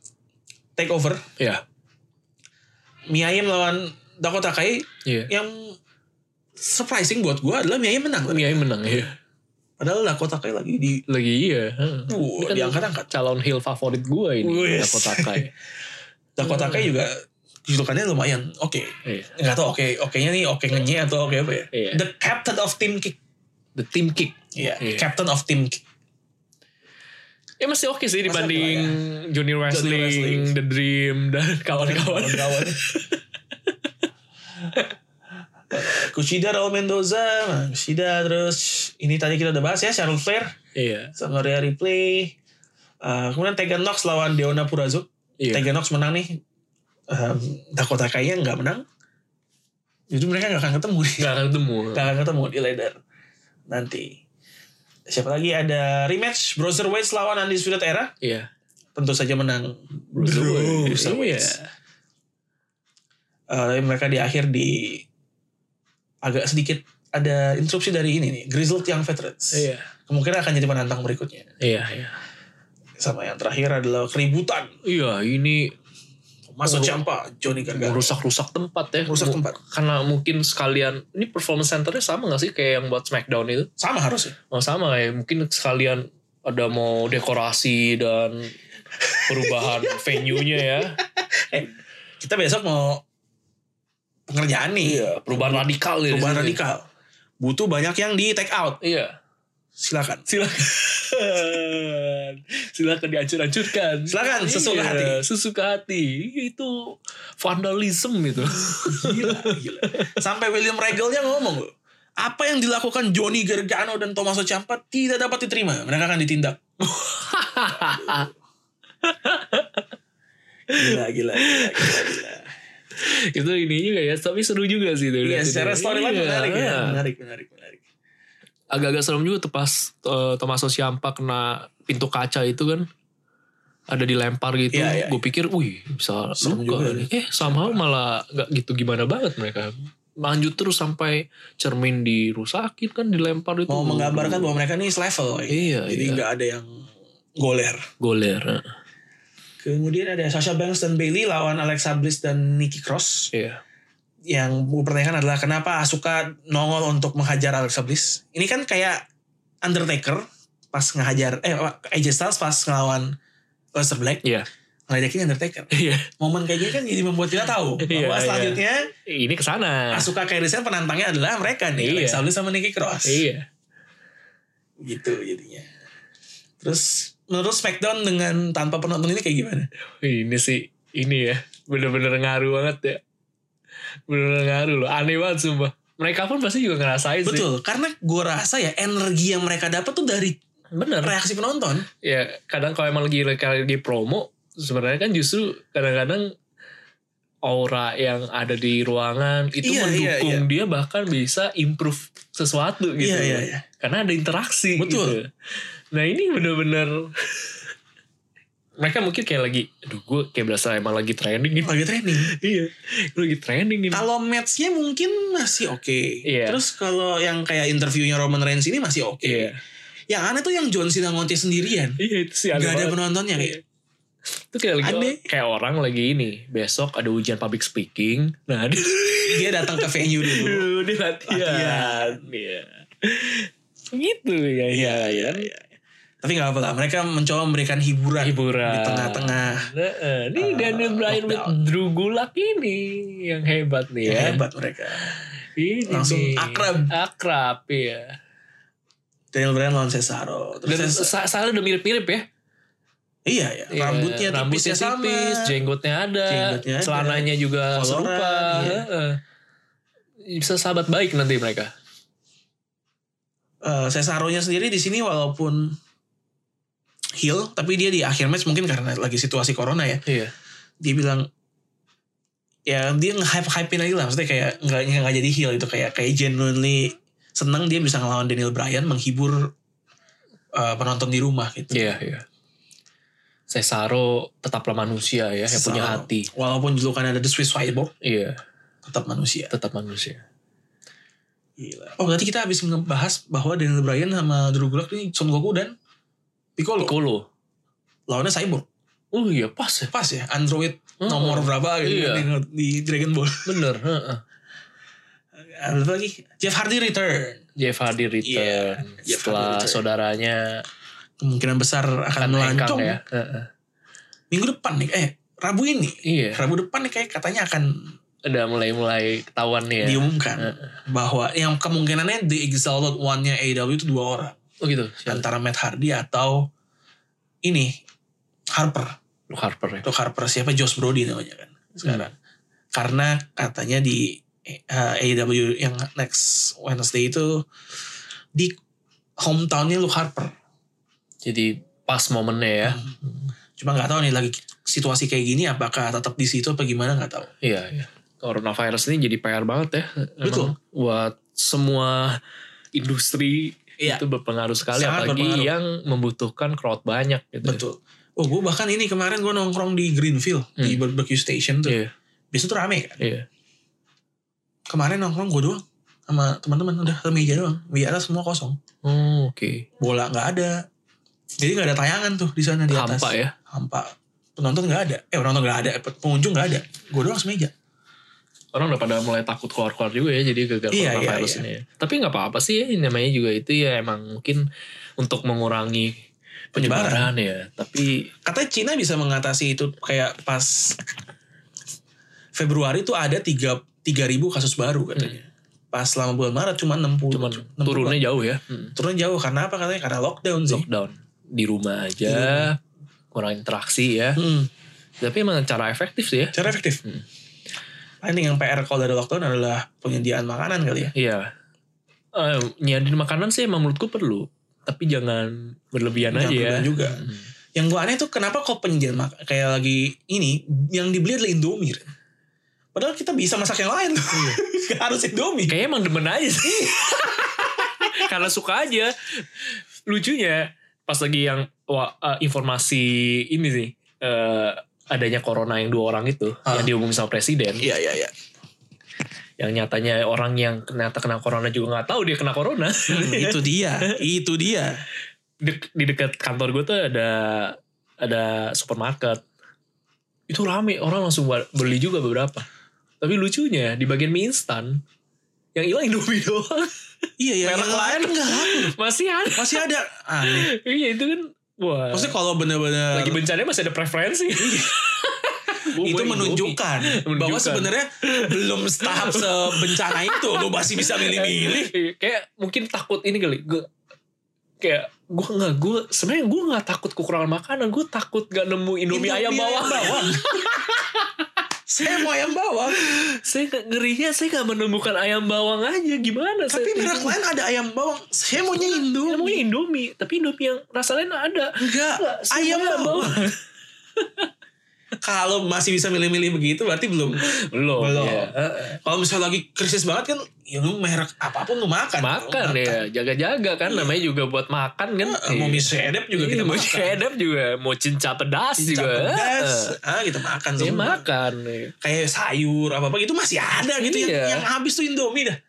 A: takeover
B: Iya.
A: Miayim lawan Dakota Kai
B: Iya.
A: yang surprising buat gue adalah Miayim menang.
B: Miai menang ya.
A: Padahal Dakota Kai lagi di
B: Lagi iya. heeh.
A: Wah,
B: Ini kan
A: diangkat-angkat.
B: Calon heel favorit gue ini.
A: Wes.
B: Dakota Kai.
A: Dakota
B: Hmm.
A: Kai juga julukannya lumayan oke.
B: Iya.
A: Nggak tahu oke oke-nya nih oke ngenye atau oke apa ya.
B: Iya.
A: The captain of team kick.
B: The team kick.
A: Iya,
B: Iya.
A: captain of team kick.
B: Ya masih oke
A: Masih
B: sih
A: oke lah
B: dibanding
A: ya.
B: junior, wrestling,
A: Wrestling.
B: The Dream, dan kawan-kawan.
A: Kawan-kawan. Kushida Raul Mendoza, nah, Kushida terus ini tadi kita udah bahas ya Charles Flair
B: Iya.
A: sama Rhea Ripley. Eh, kemudian Tegan Nox lawan Deonna Purrazzo.
B: Iya.
A: Tegan Nox menang nih. Eh, Dakota Kai-nya nggak menang. Jadi mereka nggak akan ketemu nih.
B: Gak akan ketemu.
A: Gak akan ketemu di ladder nanti. Siapa lagi ada rematch Browserweights lawan Undisputed Era.
B: Iya.
A: Tentu saja menang
B: Bruce Wayne.
A: Bruiserweights.
B: Iya.
A: Eh, tapi mereka di akhir di agak sedikit ada instruksi dari ini nih Grizzled Young Veterans
B: Iya.
A: kemungkinan akan jadi penantang berikutnya
B: Iya, iya.
A: sama yang terakhir adalah keributan
B: Iya, ini
A: Maso
B: Meru-
A: Ciampa Johnny Gargano
B: merusak-rusak tempat ya.
A: Merusak
B: Mu-
A: tempat.
B: Karena mungkin sekalian, ini performance centernya sama gak sih kayak yang buat Smackdown itu?
A: sama harusnya
B: Oh, sama ya, mungkin sekalian ada mau dekorasi dan perubahan venue-nya ya.
A: kita besok mau pengerjaan nih
B: Iya, Perubahan radikal ya. di
A: Iya. perubahan
B: sini.
A: radikal butuh banyak yang di take out
B: Iya.
A: silakan
B: silakan silakan dihancur-hancurkan Iya,
A: Silakan, sesuka hati.
B: sesuka hati itu vandalism itu
A: Gila, gila. Sampai William Regalnya ngomong loh. Apa yang dilakukan Johnny Gargano dan Tommaso Ciampa tidak dapat diterima. Mereka akan ditindak. gila, gila, gila, gila, gila.
B: itu ini juga ya tapi seru juga sih itu
A: Iya,
B: lihat
A: secara
B: ini.
A: storyline
B: Iya.
A: menarik ya. Menarik, menarik, menarik.
B: agak-agak serem juga tuh pas eh, Tommaso Ciampa kena pintu kaca itu kan ada dilempar gitu
A: Iya, iya.
B: gue pikir wih bisa
A: Serem
B: luka
A: juga ya.
B: nih. eh somehow malah nggak gitu gimana banget mereka lanjut terus sampai cermin dirusakin kan dilempar itu
A: Mau menggambarkan bahwa mereka ini selevel. woy.
B: Iya,
A: Jadi
B: iya.
A: nggak ada yang goler.
B: goler eh.
A: Kemudian ada Sasha Banks dan Bailey lawan Alexa Bliss dan Nikki Cross.
B: iya
A: yang gue pertanyakan adalah kenapa Asuka nongol untuk menghajar Alexa Bliss? Ini kan kayak Undertaker pas ngehajar eh AJ Styles pas ngelawan Lester Black
B: iya
A: ngeledekin Undertaker.
B: iya
A: Momen kayak gini kan jadi membuat kita tahu
B: Iya,
A: bahwa
B: iya.
A: selanjutnya
B: ini ke sana.
A: Asuka Kairisnya penantangnya adalah mereka nih
B: Iya.
A: Alexa Bliss sama Nikki Cross.
B: Iya.
A: Gitu jadinya. Terus menurut SmackDown dengan tanpa penonton ini kayak gimana?
B: Iya Ini sih ini ya bener-bener ngaruh banget ya. Bener-bener ngaruh loh. Aneh banget sumpah. Mereka pun pasti juga ngerasain sih.
A: Betul, karena gue rasa ya energi yang mereka dapat tuh dari
B: Bener.
A: reaksi penonton.
B: Ya kadang kalau emang lagi lagi promo sebenarnya kan justru kadang-kadang aura yang ada di ruangan itu
A: Iya, iya,
B: mendukung dia bahkan bisa improve sesuatu gitu.
A: Iya, iya, iya.
B: Karena ada interaksi
A: Betul.
B: gitu. Nah ini bener-bener mereka mungkin kayak lagi, aduh gue kayak berasa emang lagi training nih
A: Lagi training.
B: iya lu lagi training nih
A: Kalau matchnya mungkin masih oke.
B: Gitu. Iya.
A: Terus kalau yang kayak interviewnya Roman Reigns ini masih oke.
B: iya
A: Yang aneh tuh yang John Cena ngonti sendirian.
B: iya itu sih aneh
A: Gak ada
B: banget.
A: penontonnya
B: Iya.
A: kayak.
B: itu kayak lagi
A: Aneh.
B: kayak orang lagi ini besok ada ujian public speaking nah dia
A: Dia datang ke venue dulu.
B: dia latihan iya gitu ya iya
A: iya, iya. Tapi gak apa-apa. Mereka mencoba memberikan hiburan.
B: hiburan
A: Di tengah-tengah.
B: nah, eh,
A: Eh,
B: ini Daniel Bryan with
A: lockdown.
B: Drew Gulak ini yang hebat nih
A: Ya,
B: ya
A: Hebat mereka.
B: ini
A: Langsung
B: nih.
A: akrab.
B: akrab ya
A: Daniel Bryan lawan Cesaro. Terus
B: dan
A: Ces-
B: sa- salahnya udah mirip-mirip ya
A: iya, ya.
B: Iya,
A: Rambutnya, tipisnya
B: rambutnya
A: sama.
B: tipis, jenggotnya ada,
A: Jenggotnya ada.
B: celananya juga
A: Koloran,
B: serupa.
A: iya.
B: heeh. Bisa sahabat baik nanti mereka.
A: Eh, Cesaro-nya sendiri di sini walaupun heel. Tapi dia di akhir match mungkin karena lagi situasi corona ya.
B: Iya.
A: dia bilang ya dia nge-hype hypein lagi lah maksudnya kayak nggak nggak jadi heel gitu kayak kayak genuinely seneng dia bisa ngelawan Daniel Bryan menghibur uh, penonton di rumah gitu
B: Iya, iya. Cesaro tetaplah manusia ya, yang
A: Cesaro.
B: punya hati.
A: walaupun julukan ada The Swiss Cyborg
B: Iya,
A: tetap manusia
B: tetap manusia.
A: Gila. oh berarti kita habis ngebahas bahwa Daniel Bryan sama Drew Gulak ini Son Goku dan Piccolo
B: Piccolo.
A: lawannya Cyborg
B: Oh iya, pas ya.
A: pas ya android
B: Heeh.
A: nomor berapa gitu
B: Hmm. Iya.
A: kan di, di Dragon Ball
B: Bener. heeh.
A: ada lagi Jeff Hardy return
B: Jeff Hardy return.
A: Iya, Jeff
B: Setelah
A: Hardy return.
B: saudaranya
A: kemungkinan besar akan
B: kan hengkang
A: melancong
B: ya. heeh.
A: minggu depan nih eh Rabu ini
B: Iya,
A: Rabu depan nih kayak katanya akan
B: udah mulai-mulai ketahuan nih ya.
A: diumumkan
B: Heeh.
A: bahwa yang kemungkinannya The Exalted One-nya AEW itu dua orang
B: Oh gitu. Siapa?
A: antara Matt Hardy atau ini Harper
B: Luke Harper ya.
A: atau Harper siapa Josh Brody namanya kan sekarang
B: Hmm.
A: karena katanya di eh, AEW yang next Wednesday itu di hometownnya Luke Harper
B: Jadi pas momennya ya.
A: cuma nggak tahu nih lagi situasi kayak gini apakah tetap di situ apa gimana nggak tahu
B: Iya, iya. Coronavirus ini jadi PR banget ya. Emang
A: Betul.
B: Buat semua industri
A: Iya.
B: itu berpengaruh sekali.
A: Sangat
B: apalagi
A: berpengaruh.
B: yang membutuhkan crowd banyak gitu.
A: betul oh gue bahkan ini kemarin gue nongkrong di Greenfield di
B: Hmm.
A: barbecue station tuh
B: Iya,
A: biasa tuh rame kan
B: iya.
A: kemarin nongkrong gue doang sama teman-teman udah ke meja doang meja atas semua kosong
B: Oh, oke.
A: bola nggak ada jadi nggak ada tayangan tuh di sana di atas
B: Hampa ya.
A: hampa penonton nggak ada eh penonton nggak ada pengunjung nggak ada gue doang semeja
B: Orang udah pada mulai takut keluar-keluar juga ya jadi gagal
A: Iya, iya, iya.
B: virus ini. ya. Tapi nggak apa-apa sih ya, namanya juga itu ya emang mungkin untuk mengurangi
A: Penyebaran.
B: penyebaran, ya. Tapi
A: katanya Cina bisa mengatasi itu kayak pas Februari tuh ada tiga tiga ribu kasus baru katanya pas selama bulan Maret cuma 60
B: cuman
A: 60.
B: Hmm. turunnya jauh ya. Hmm.
A: turun jauh karena apa katanya karena lockdown sih
B: Lockdown di rumah aja,
A: Di
B: kurang interaksi ya.
A: Hmm,
B: Tapi emang cara efektif sih ya.
A: cara efektif
B: Hmm.
A: paling yang PR kalau dari lockdown adalah penyediaan makanan kali ya
B: Iya. Eh, nyiapin makanan sih emang menurutku perlu, tapi jangan berlebihan
A: Jangan
B: aja ya.
A: berlebihan juga.
B: Hmm.
A: yang gue aneh tuh kenapa kok penyediaan mak- kayak lagi ini yang dibeli adalah Indomie Ren. padahal kita bisa masak yang lain Gak harus Indomie
B: Kayaknya emang demen aja sih.
A: Iya.
B: Karena suka aja. Lucunya pas lagi yang wah, eh, informasi ini sih eh, adanya corona yang dua orang itu
A: Ah.
B: yang diumumin sama presiden,
A: iya iya iya
B: yang nyatanya orang yang ternyata kena corona juga nggak tahu dia kena corona.
A: Hmm, itu dia itu dia
B: Dek- di dekat kantor gue tuh ada ada supermarket. Itu rame orang langsung ba- beli juga beberapa. Tapi lucunya di bagian mie instan yang hilang Indomie doang
A: iya iya
B: Merek
A: yang lain enggak laku
B: masih ada.
A: masih ada aneh
B: Iya itu kan wah.
A: maksudnya Iya. kalau bener-bener
B: lagi bencana masih ada preferensi. Gua
A: itu
B: mau
A: menunjukkan bahwa
B: Menunjukkan.
A: sebenarnya belum tahap sebencana itu lo masih bisa milih-milih
B: Indomie. Iya, kayak mungkin takut ini kali. Gue kayak gue nggak gue sebenarnya gue nggak takut kekurangan makanan gue takut gak nemu indomie, ayam bawang
A: saya mau ayam bawang
B: saya nggak- ngerinya saya nggak menemukan ayam bawang aja gimana
A: tapi
B: saya
A: merek lain ada ayam bawang saya maunya
B: Saya maunya
A: Indomie
B: indomie tapi indomie yang rasa lain ada
A: enggak
B: Nggak, semua
A: ayam bawang kalau masih bisa milih-milih begitu berarti belum
B: belum
A: Belum.
B: ya.
A: kalau misalnya lagi krisis banget kan ya lu merek apapun lu Kan makan
B: makan
A: Lu
B: ya jaga-jaga kan namanya juga buat makan kan
A: Eh, Iya. mau mie sedap juga kita
B: mau
A: makan
B: sedap Iya, juga mau cinca pedas
A: Cicak
B: juga
A: pedas
B: Heeh.
A: ah kita makan
B: Dia
A: semua
B: makan.
A: kayak sayur apa apa gitu masih ada gitu
B: Iya.
A: yang, yang habis tuh Indomie dah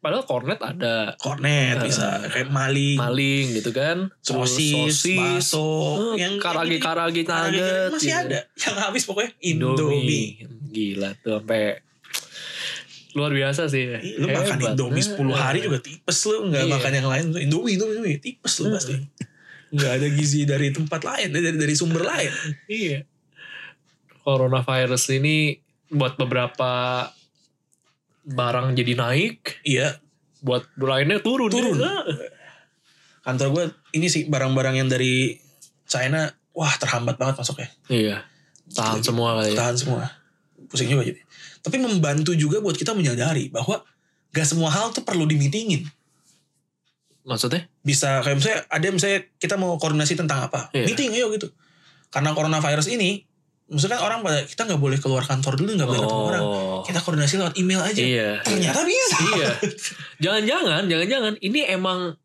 B: Padahal kornet ada
A: kornet
B: Eh.
A: bisa kayak maling,
B: maling gitu kan.
A: sosis, bakso
B: eh, karage-karage
A: karage-
B: nugget.
A: masih
B: gitu.
A: ada yang habis pokoknya Indomie,
B: Indomie. Gila tuh sampai luar biasa sih.
A: Ih, Iya, lu makan
B: Hebat.
A: Indomie 10 hari juga tipes lu nggak
B: Iya. Hmm.
A: makan yang lain Indomie Indomie, Indomie tipes lu pasti nggak ada gizi dari tempat lain dari dari sumber lain
B: Iya. Coronavirus ini buat beberapa barang jadi naik,
A: iya
B: buat lainnya turun.
A: Turun.
B: Heeh.
A: kantor gue ini sih barang-barang yang dari China wah terhambat banget masuknya Gitu.
B: Iya. Tahan semua kali ya.
A: tahan semua pusing juga jadi tapi membantu juga buat kita menyadari bahwa gak semua hal tuh perlu dimitingin
B: Maksudnya?
A: bisa kayak misalnya ada misalnya kita mau koordinasi tentang apa
B: Iya.
A: meeting ayo gitu karena coronavirus ini maksudnya kan orang pada kita nggak boleh keluar kantor dulu nggak boleh ketemu orang
B: Oh.
A: kita koordinasi lewat email aja
B: Iya.
A: ternyata bisa
B: iya. Jangan-jangan, jangan-jangan ini emang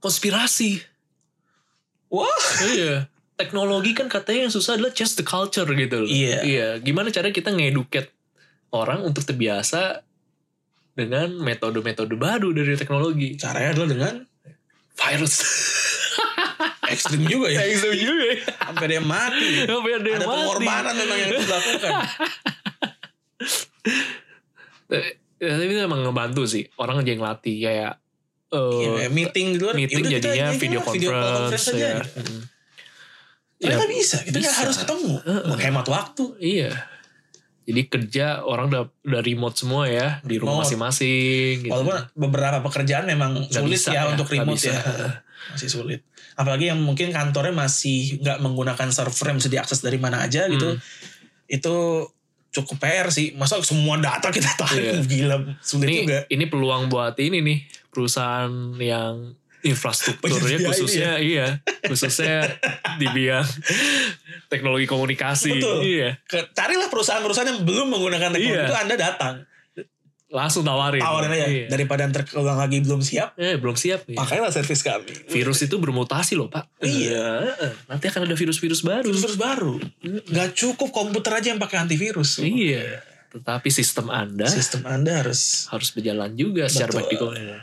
B: konspirasi.
A: wah
B: iya. Teknologi kan katanya yang susah adalah change the culture gitu loh.
A: Iya.
B: Iya. Gimana cara kita ngeduket orang untuk terbiasa dengan metode-metode baru dari teknologi.
A: caranya adalah dengan
B: Virus.
A: ekstrim juga ya
B: Thanks to you ya.
A: sampai dia mati
B: Apa yang
A: ada
B: mati?
A: pengorbanan memang yang dilakukan Iya,
B: Eh, eh, Tapi itu emang ngebantu sih. Orang aja yang latih kayak... eh,
A: Iya, meeting di luar
B: meeting
A: yaudah kita
B: jadinya
A: ini aja
B: video
A: lah,
B: conference,
A: call conference aja
B: ya.
A: gitu.
B: Mm. Ya,
A: ternyata bisa kita nggak
B: bisa.
A: harus ketemu
B: Heeh.
A: menghemat waktu
B: Iya. Jadi kerja orang udah, udah remote semua ya di rumah
A: Remote.
B: masing-masing. Gitu.
A: Walaupun beberapa pekerjaan memang
B: Nggak
A: sulit
B: bisa
A: ya,
B: ya,
A: untuk
B: nggak
A: remote
B: bisa.
A: ya. Masih sulit. Apalagi yang mungkin kantornya masih nggak menggunakan server yang bisa diakses dari mana aja gitu.
B: Hmm.
A: Itu cukup PR sih. Masa semua data kita tarik
B: Iya.
A: gila sulit
B: ini
A: juga.
B: ini peluang buat ini nih perusahaan yang infrastrukturnya
A: Penyedia ya.
B: khususnya iya khususnya di bidang teknologi komunikasi
A: Betul.
B: iya
A: Ke- Carilah perusahaan-perusahaan yang belum menggunakan teknologi
B: Iya.
A: itu Anda datang.
B: langsung tawarin
A: Tawarin aja
B: Iya.
A: daripada ntar keulang lagi belum siap,
B: eh belum siap nih
A: pakailah servis kami.
B: virus itu bermutasi loh pak
A: Iya.
B: Eh, nanti akan ada virus-virus baru
A: Terus baru. Nggak cukup komputer aja yang pakai antivirus.
B: iya Tetapi sistem Anda
A: Sistem Anda harus
B: harus berjalan juga secara
A: Betul. Iya.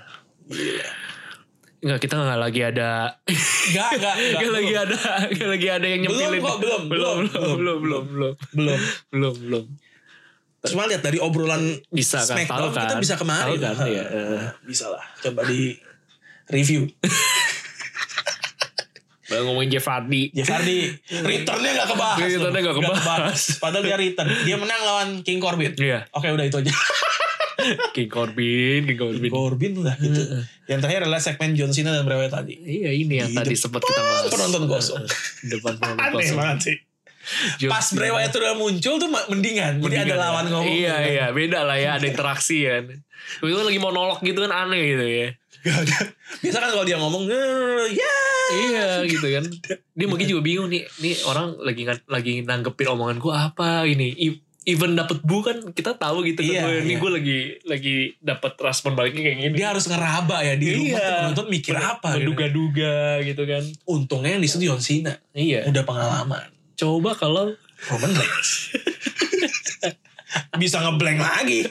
B: baik Enggak, kita enggak lagi ada
A: Enggak, enggak,
B: enggak lagi ada enggak lagi ada yang
A: Belum
B: nyempilin.
A: kok, belum,
B: belum, belum, belum, belum, belum,
A: belum.
B: belum, belum.
A: Cuma lihat dari obrolan
B: Bisa kan, tahu
A: Smackdown
B: kan.
A: kita bisa kemarin.
B: Tahu kan, ya.
A: Eh, Bisa lah, coba di review.
B: Baru ngomongin Jeff Hardy.
A: Jeff Hardy returnnya gak kebahas. loh.
B: Returnnya nggak
A: Nggak
B: kebahas.
A: Padahal dia return. Dia menang lawan King Corbin.
B: Iya,
A: Oke udah itu aja.
B: King Corbin, King Corbin.
A: Corbin lah gitu. Yang terakhir adalah segmen John Cena dan Brewe tadi.
B: Iya, ini yang
A: Di
B: tadi sempat kita bahas.
A: penonton kosong.
B: Di depan penonton
A: Aneh
B: kosong.
A: banget sih.
B: John
A: Pas
B: Cena.
A: Brewe itu udah muncul tuh ma- mendingan. Jadi ada
B: Mendingan
A: lawan
B: ya.
A: ngomong.
B: Iya iya beda lah ya ada interaksi kan. Itu lagi monolog gitu kan aneh gitu ya.
A: Gak ada. Biasa kan kalau dia ngomong, ya.
B: iya gitu kan. Dia mungkin juga bingung nih nih orang lagi ngan- lagi nanggepin omongan gua apa ini. I- Even dapet bu kan kita tahu gitu
A: Iya,
B: kan. Gua- Ini
A: iya.
B: gue lagi lagi dapat respon baliknya kayak gini.
A: Dia harus ngeraba ya di rumah
B: Iya.
A: tuh penonton mikir apa gitu.
B: Menduga-duga gitu kan.
A: Untungnya yang di situ John Cena
B: Iya.
A: udah pengalaman.
B: Coba kalau
A: Roman Reigns. Bisa ngeblank lagi.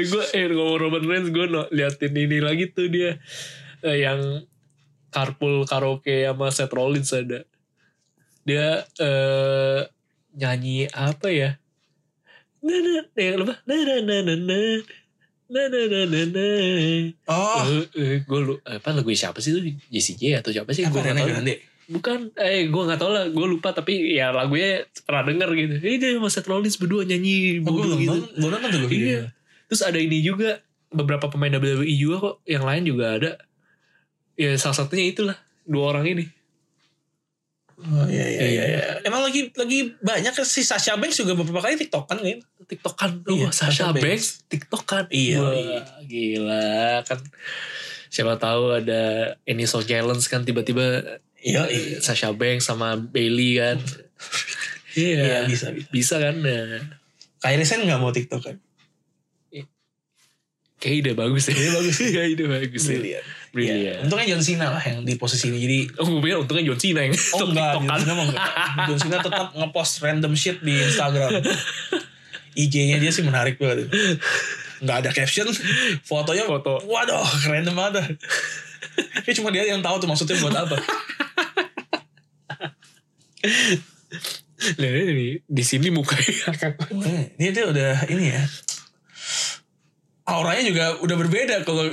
B: gue eh, ngomong Roman Reigns gue no, liatin ini lagi tuh dia eh, yang carpool karaoke sama Seth Rollins ada dia eh, nyanyi apa ya na na yang lupa na na na na na na na na na na
A: Oh,
B: Eh, eh, gue lu apa lagu siapa sih itu JCJ atau siapa sih
A: apa
B: gue nggak
A: Rene
B: tahu
A: Grande?
B: bukan eh gue nggak tahu lah gue lupa tapi ya lagunya pernah denger gitu ini dia sama Seth Rollins berdua
A: Oh, gue
B: nyanyi bodoh
A: belum
B: gitu
A: nonton, belum nonton tuh gue
B: Iya.
A: videonya.
B: Terus ada ini juga beberapa pemain WWE juga kok, yang lain juga ada. Ya salah satunya itulah dua orang ini.
A: Oh, iya, iya, iya, iya. Emang lagi lagi banyak si Sasha Banks juga beberapa kali TikTok kan kan?
B: TikTokan,
A: Iya,
B: iya, Sasha,
A: Sasha Banks.
B: Banks, TikTokan.
A: Iya.
B: Wah, gila kan. Siapa tahu ada ini so challenge kan tiba-tiba
A: Iya,
B: eh, Sasha Banks sama Bailey kan.
A: Iya,
B: Iya.
A: bisa bisa.
B: bisa kan? Nah,
A: Kairi Sen nggak mau TikTok kan?
B: kayak ide bagus ya. Ide bagus. Iya, ide bagus. ya.
A: Brilliant. Iya.
B: Brilliant.
A: Untungnya John Cena lah yang di posisi ini. Jadi
B: Oh, gue pikir untungnya John Cena yang
A: Oh enggak, John Cena mah enggak. John Cena tetap ngepost random shit di Instagram. IG-nya dia sih menarik banget. Enggak ada caption, fotonya
B: Foto.
A: Waduh, random banget. Ini cuma dia yang tahu tuh maksudnya buat apa.
B: Nah, ini, ini, di sini mukanya
A: Hmm, Dia tuh udah ini ya. Auranya juga udah berbeda kalau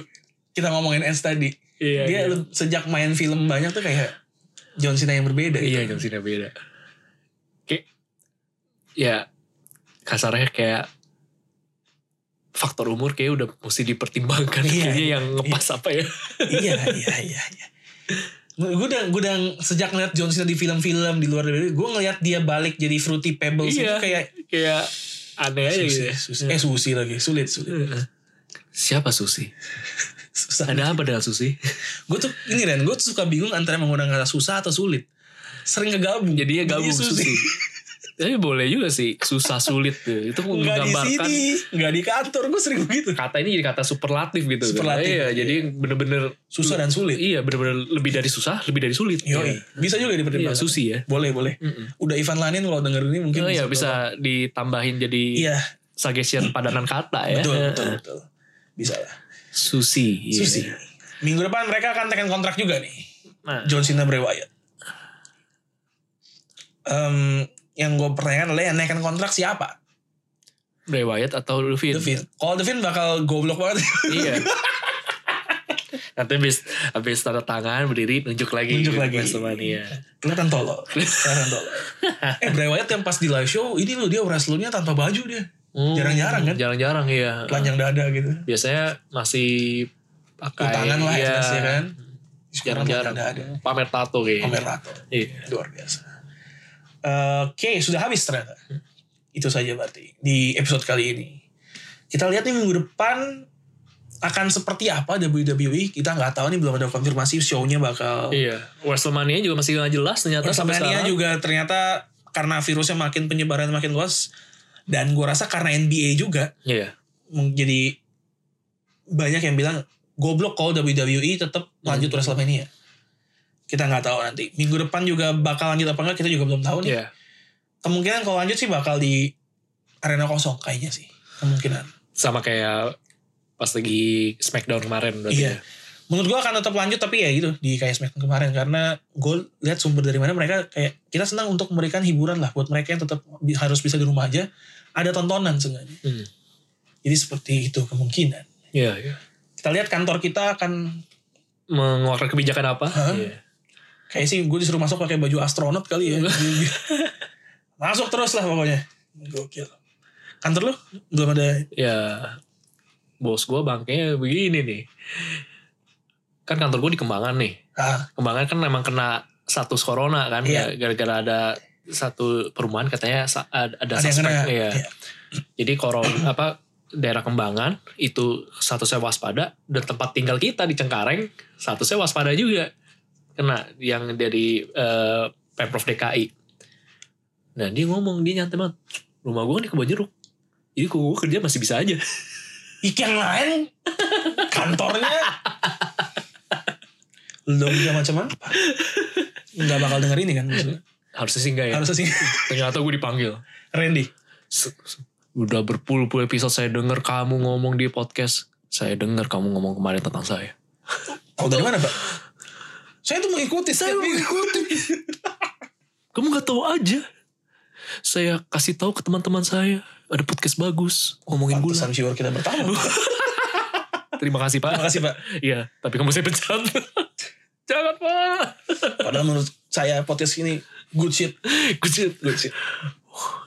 A: kita ngomongin Ends tadi.
B: Iya,
A: dia
B: iya.
A: lu- sejak main film banyak tuh kayak John Cena yang berbeda. gitu.
B: Iya John Cena beda. Kayak ya kasarnya kayak faktor umur kayak udah mesti dipertimbangkan
A: Iya,
B: kayaknya
A: iya,
B: yang ngepas apa ya.
A: iya, iya, iya, iya. Gue udah, gue udah sejak ngeliat John Cena di film-film di luar dari gue ngeliat dia balik jadi Fruity Pebbles itu
B: Iya.
A: kayak
B: kayak aneh aja gitu.
A: susi,
B: ya.
A: susi. eh susi lagi sulit sulit
B: Heeh. Siapa Susi?
A: susah.
B: Ada apa dengan Susi?
A: Gue tuh ini Ren, gue tuh suka bingung antara menggunakan kata susah atau sulit. Sering kegabung.
B: Jadinya gabung
A: Iya, Susi.
B: Susi. Tapi boleh juga sih susah sulit tuh.
A: Nggak
B: Itu
A: di
B: menggambarkan
A: sini, nggak di kantor, gue sering begitu.
B: kata ini jadi kata superlatif gitu. kan.
A: Superlatif,
B: Iya,
A: iya.
B: jadi bener-bener
A: Susah dan sulit.
B: iya bener-bener lebih dari susah, lebih dari sulit.
A: Yoi,
B: Iya.
A: bisa juga
B: Iya,
A: dipertimbangkan.
B: Susi ya.
A: Boleh, boleh. Udah Ivan Lanin kalau denger ini mungkin
B: oh iya bisa ditambahin jadi
A: Iya,
B: suggestion padanan kata ya.
A: betul, betul, betul. Bisa lah.
B: Susi. iya.
A: Susi. Minggu depan mereka akan tekan kontrak juga nih.
B: Nah,
A: John Cena Bray Wyatt. Em, yang gue pertanyakan adalah yang naikan kontrak siapa?
B: Bray Wyatt atau Lufin?
A: The Finn. Kalau The Finn bakal goblok banget.
B: Iya. Nanti habis habis tanda tangan berdiri nunjuk lagi. ya.
A: Nunjuk lagi.
B: Iya, Wrestlemania.
A: Kelihatan tolol. Kelihatan tolol. eh Bray Wyatt yang pas di live show ini loh dia wrestlernya tanpa baju dia.
B: Hmm,
A: Jarang-jarang kan?
B: Jarang-jarang iya.
A: Telanjang dada gitu.
B: Biasanya masih pakai
A: Utangan lah
B: iya,
A: ya jelasnya kan. Sekarang
B: Jarang-jarang.
A: telanjang dada
B: Pamer tato
A: ada.
B: kayaknya.
A: Pamer tato.
B: Iya.
A: Luar biasa. Eh, Oke, sudah habis ternyata. Itu saja berarti di episode kali ini. Kita lihat nih minggu depan akan seperti apa WWE. Kita nggak tahu nih belum ada konfirmasi show-nya bakal.
B: Iya. Wrestlemania juga masih nggak jelas ternyata sampai
A: WrestleMania
B: sekarang.
A: ya juga ternyata karena virusnya makin penyebaran makin luas dan gua rasa karena NBA juga
B: Iya.
A: meng- jadi banyak yang bilang goblok kalau WWE tetap E
B: Hmm.
A: lanjut WrestleMania. Kita nggak tahu nanti. Minggu depan juga bakal lanjut apa enggak kita juga belum tahu nih
B: Iya.
A: kemungkinan kalau lanjut sih bakal di arena kosong kayaknya sih. kemungkinan
B: sama kayak pas lagi Smackdown kemarin berarti ya.
A: iya menurut gua akan tetap lanjut tapi ya gitu di kayak Smackdown kemarin karena gue lihat sumber dari mana mereka kayak kita senang untuk memberikan hiburan lah buat mereka yang tetap bi- harus bisa di rumah aja ada tontonan seenggaknya
B: Hmm.
A: jadi seperti itu kemungkinan
B: Iya, iya.
A: kita lihat kantor kita akan
B: mengeluarkan kebijakan apa
A: Hah?
B: Iya.
A: kayak sih gue disuruh masuk pakai baju astronot kali ya masuk terus lah pokoknya gokil kantor lu belum ada
B: ya bos gue bangkainya begini nih kan kantor gue di Kembangan nih
A: ah,
B: Kembangan kan memang kena status corona kan
A: Iya.
B: gara-gara ada satu perumahan katanya sa- ada, ada
A: ada yang
B: suspek
A: kena
B: ya.
A: Iya.
B: jadi corona apa daerah Kembangan itu statusnya waspada dan tempat tinggal kita di Cengkareng statusnya waspada juga kena yang dari eh, pemprov DKI nah dia ngomong dia nyantai banget rumah gue kan di kebon jeruk jadi gue kerja masih bisa aja
A: Iki yang lain kantornya lu bisa macam apa nggak bakal denger ini kan maksudnya.
B: harusnya sih enggak ya
A: harusnya sih
B: ternyata gue dipanggil
A: Randy
B: S- s- udah berpuluh-puluh episode saya dengar kamu ngomong di podcast saya dengar kamu ngomong kemarin tentang saya
A: tahu dari mana pak saya tuh mengikuti saya mengikuti
B: kamu nggak tahu aja saya kasih tahu ke teman-teman saya ada podcast bagus ngomongin
A: pantesan
B: bulan
A: viewer kita bertambah
B: terima kasih
A: terima
B: pak
A: kasih pak
B: iya tapi kamu saya pecat jangan pak
A: padahal menurut saya podcast ini good shit
B: Gue sih-
A: good shit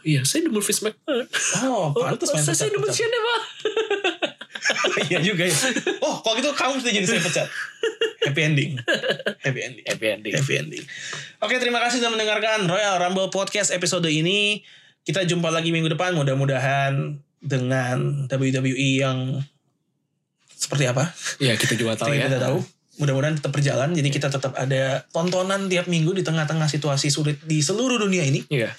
B: iya saya demen Vince McMahon
A: oh pantas main
B: saya, saya demen
A: pecat-pecat.
B: Shane pak
A: iya juga ya oh kalau gitu kamu mesti jadi saya pecat happy ending happy ending
B: happy ending
A: Happy ending. Oke, terima kasih sudah mendengarkan Royal Rumble Podcast episode ini. Kita jumpa lagi minggu depan mudah-mudahan dengan WWE yang seperti apa?
B: ya kita juga tahu ya
A: Kita tahu. Mudah-mudahan tetap berjalan. Jadi kita tetap ada tontonan tiap minggu di tengah-tengah situasi sulit di seluruh dunia ini.
B: iya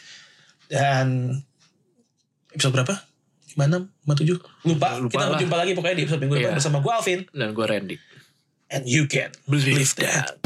A: Dan episode berapa? 56, 57? Lupa.
B: Lupa
A: kita
B: lah.
A: jumpa lagi pokoknya di episode minggu depan
B: Iya.
A: bersama gue Alvin
B: dan gue Randy
A: and you can
B: Believe
A: that.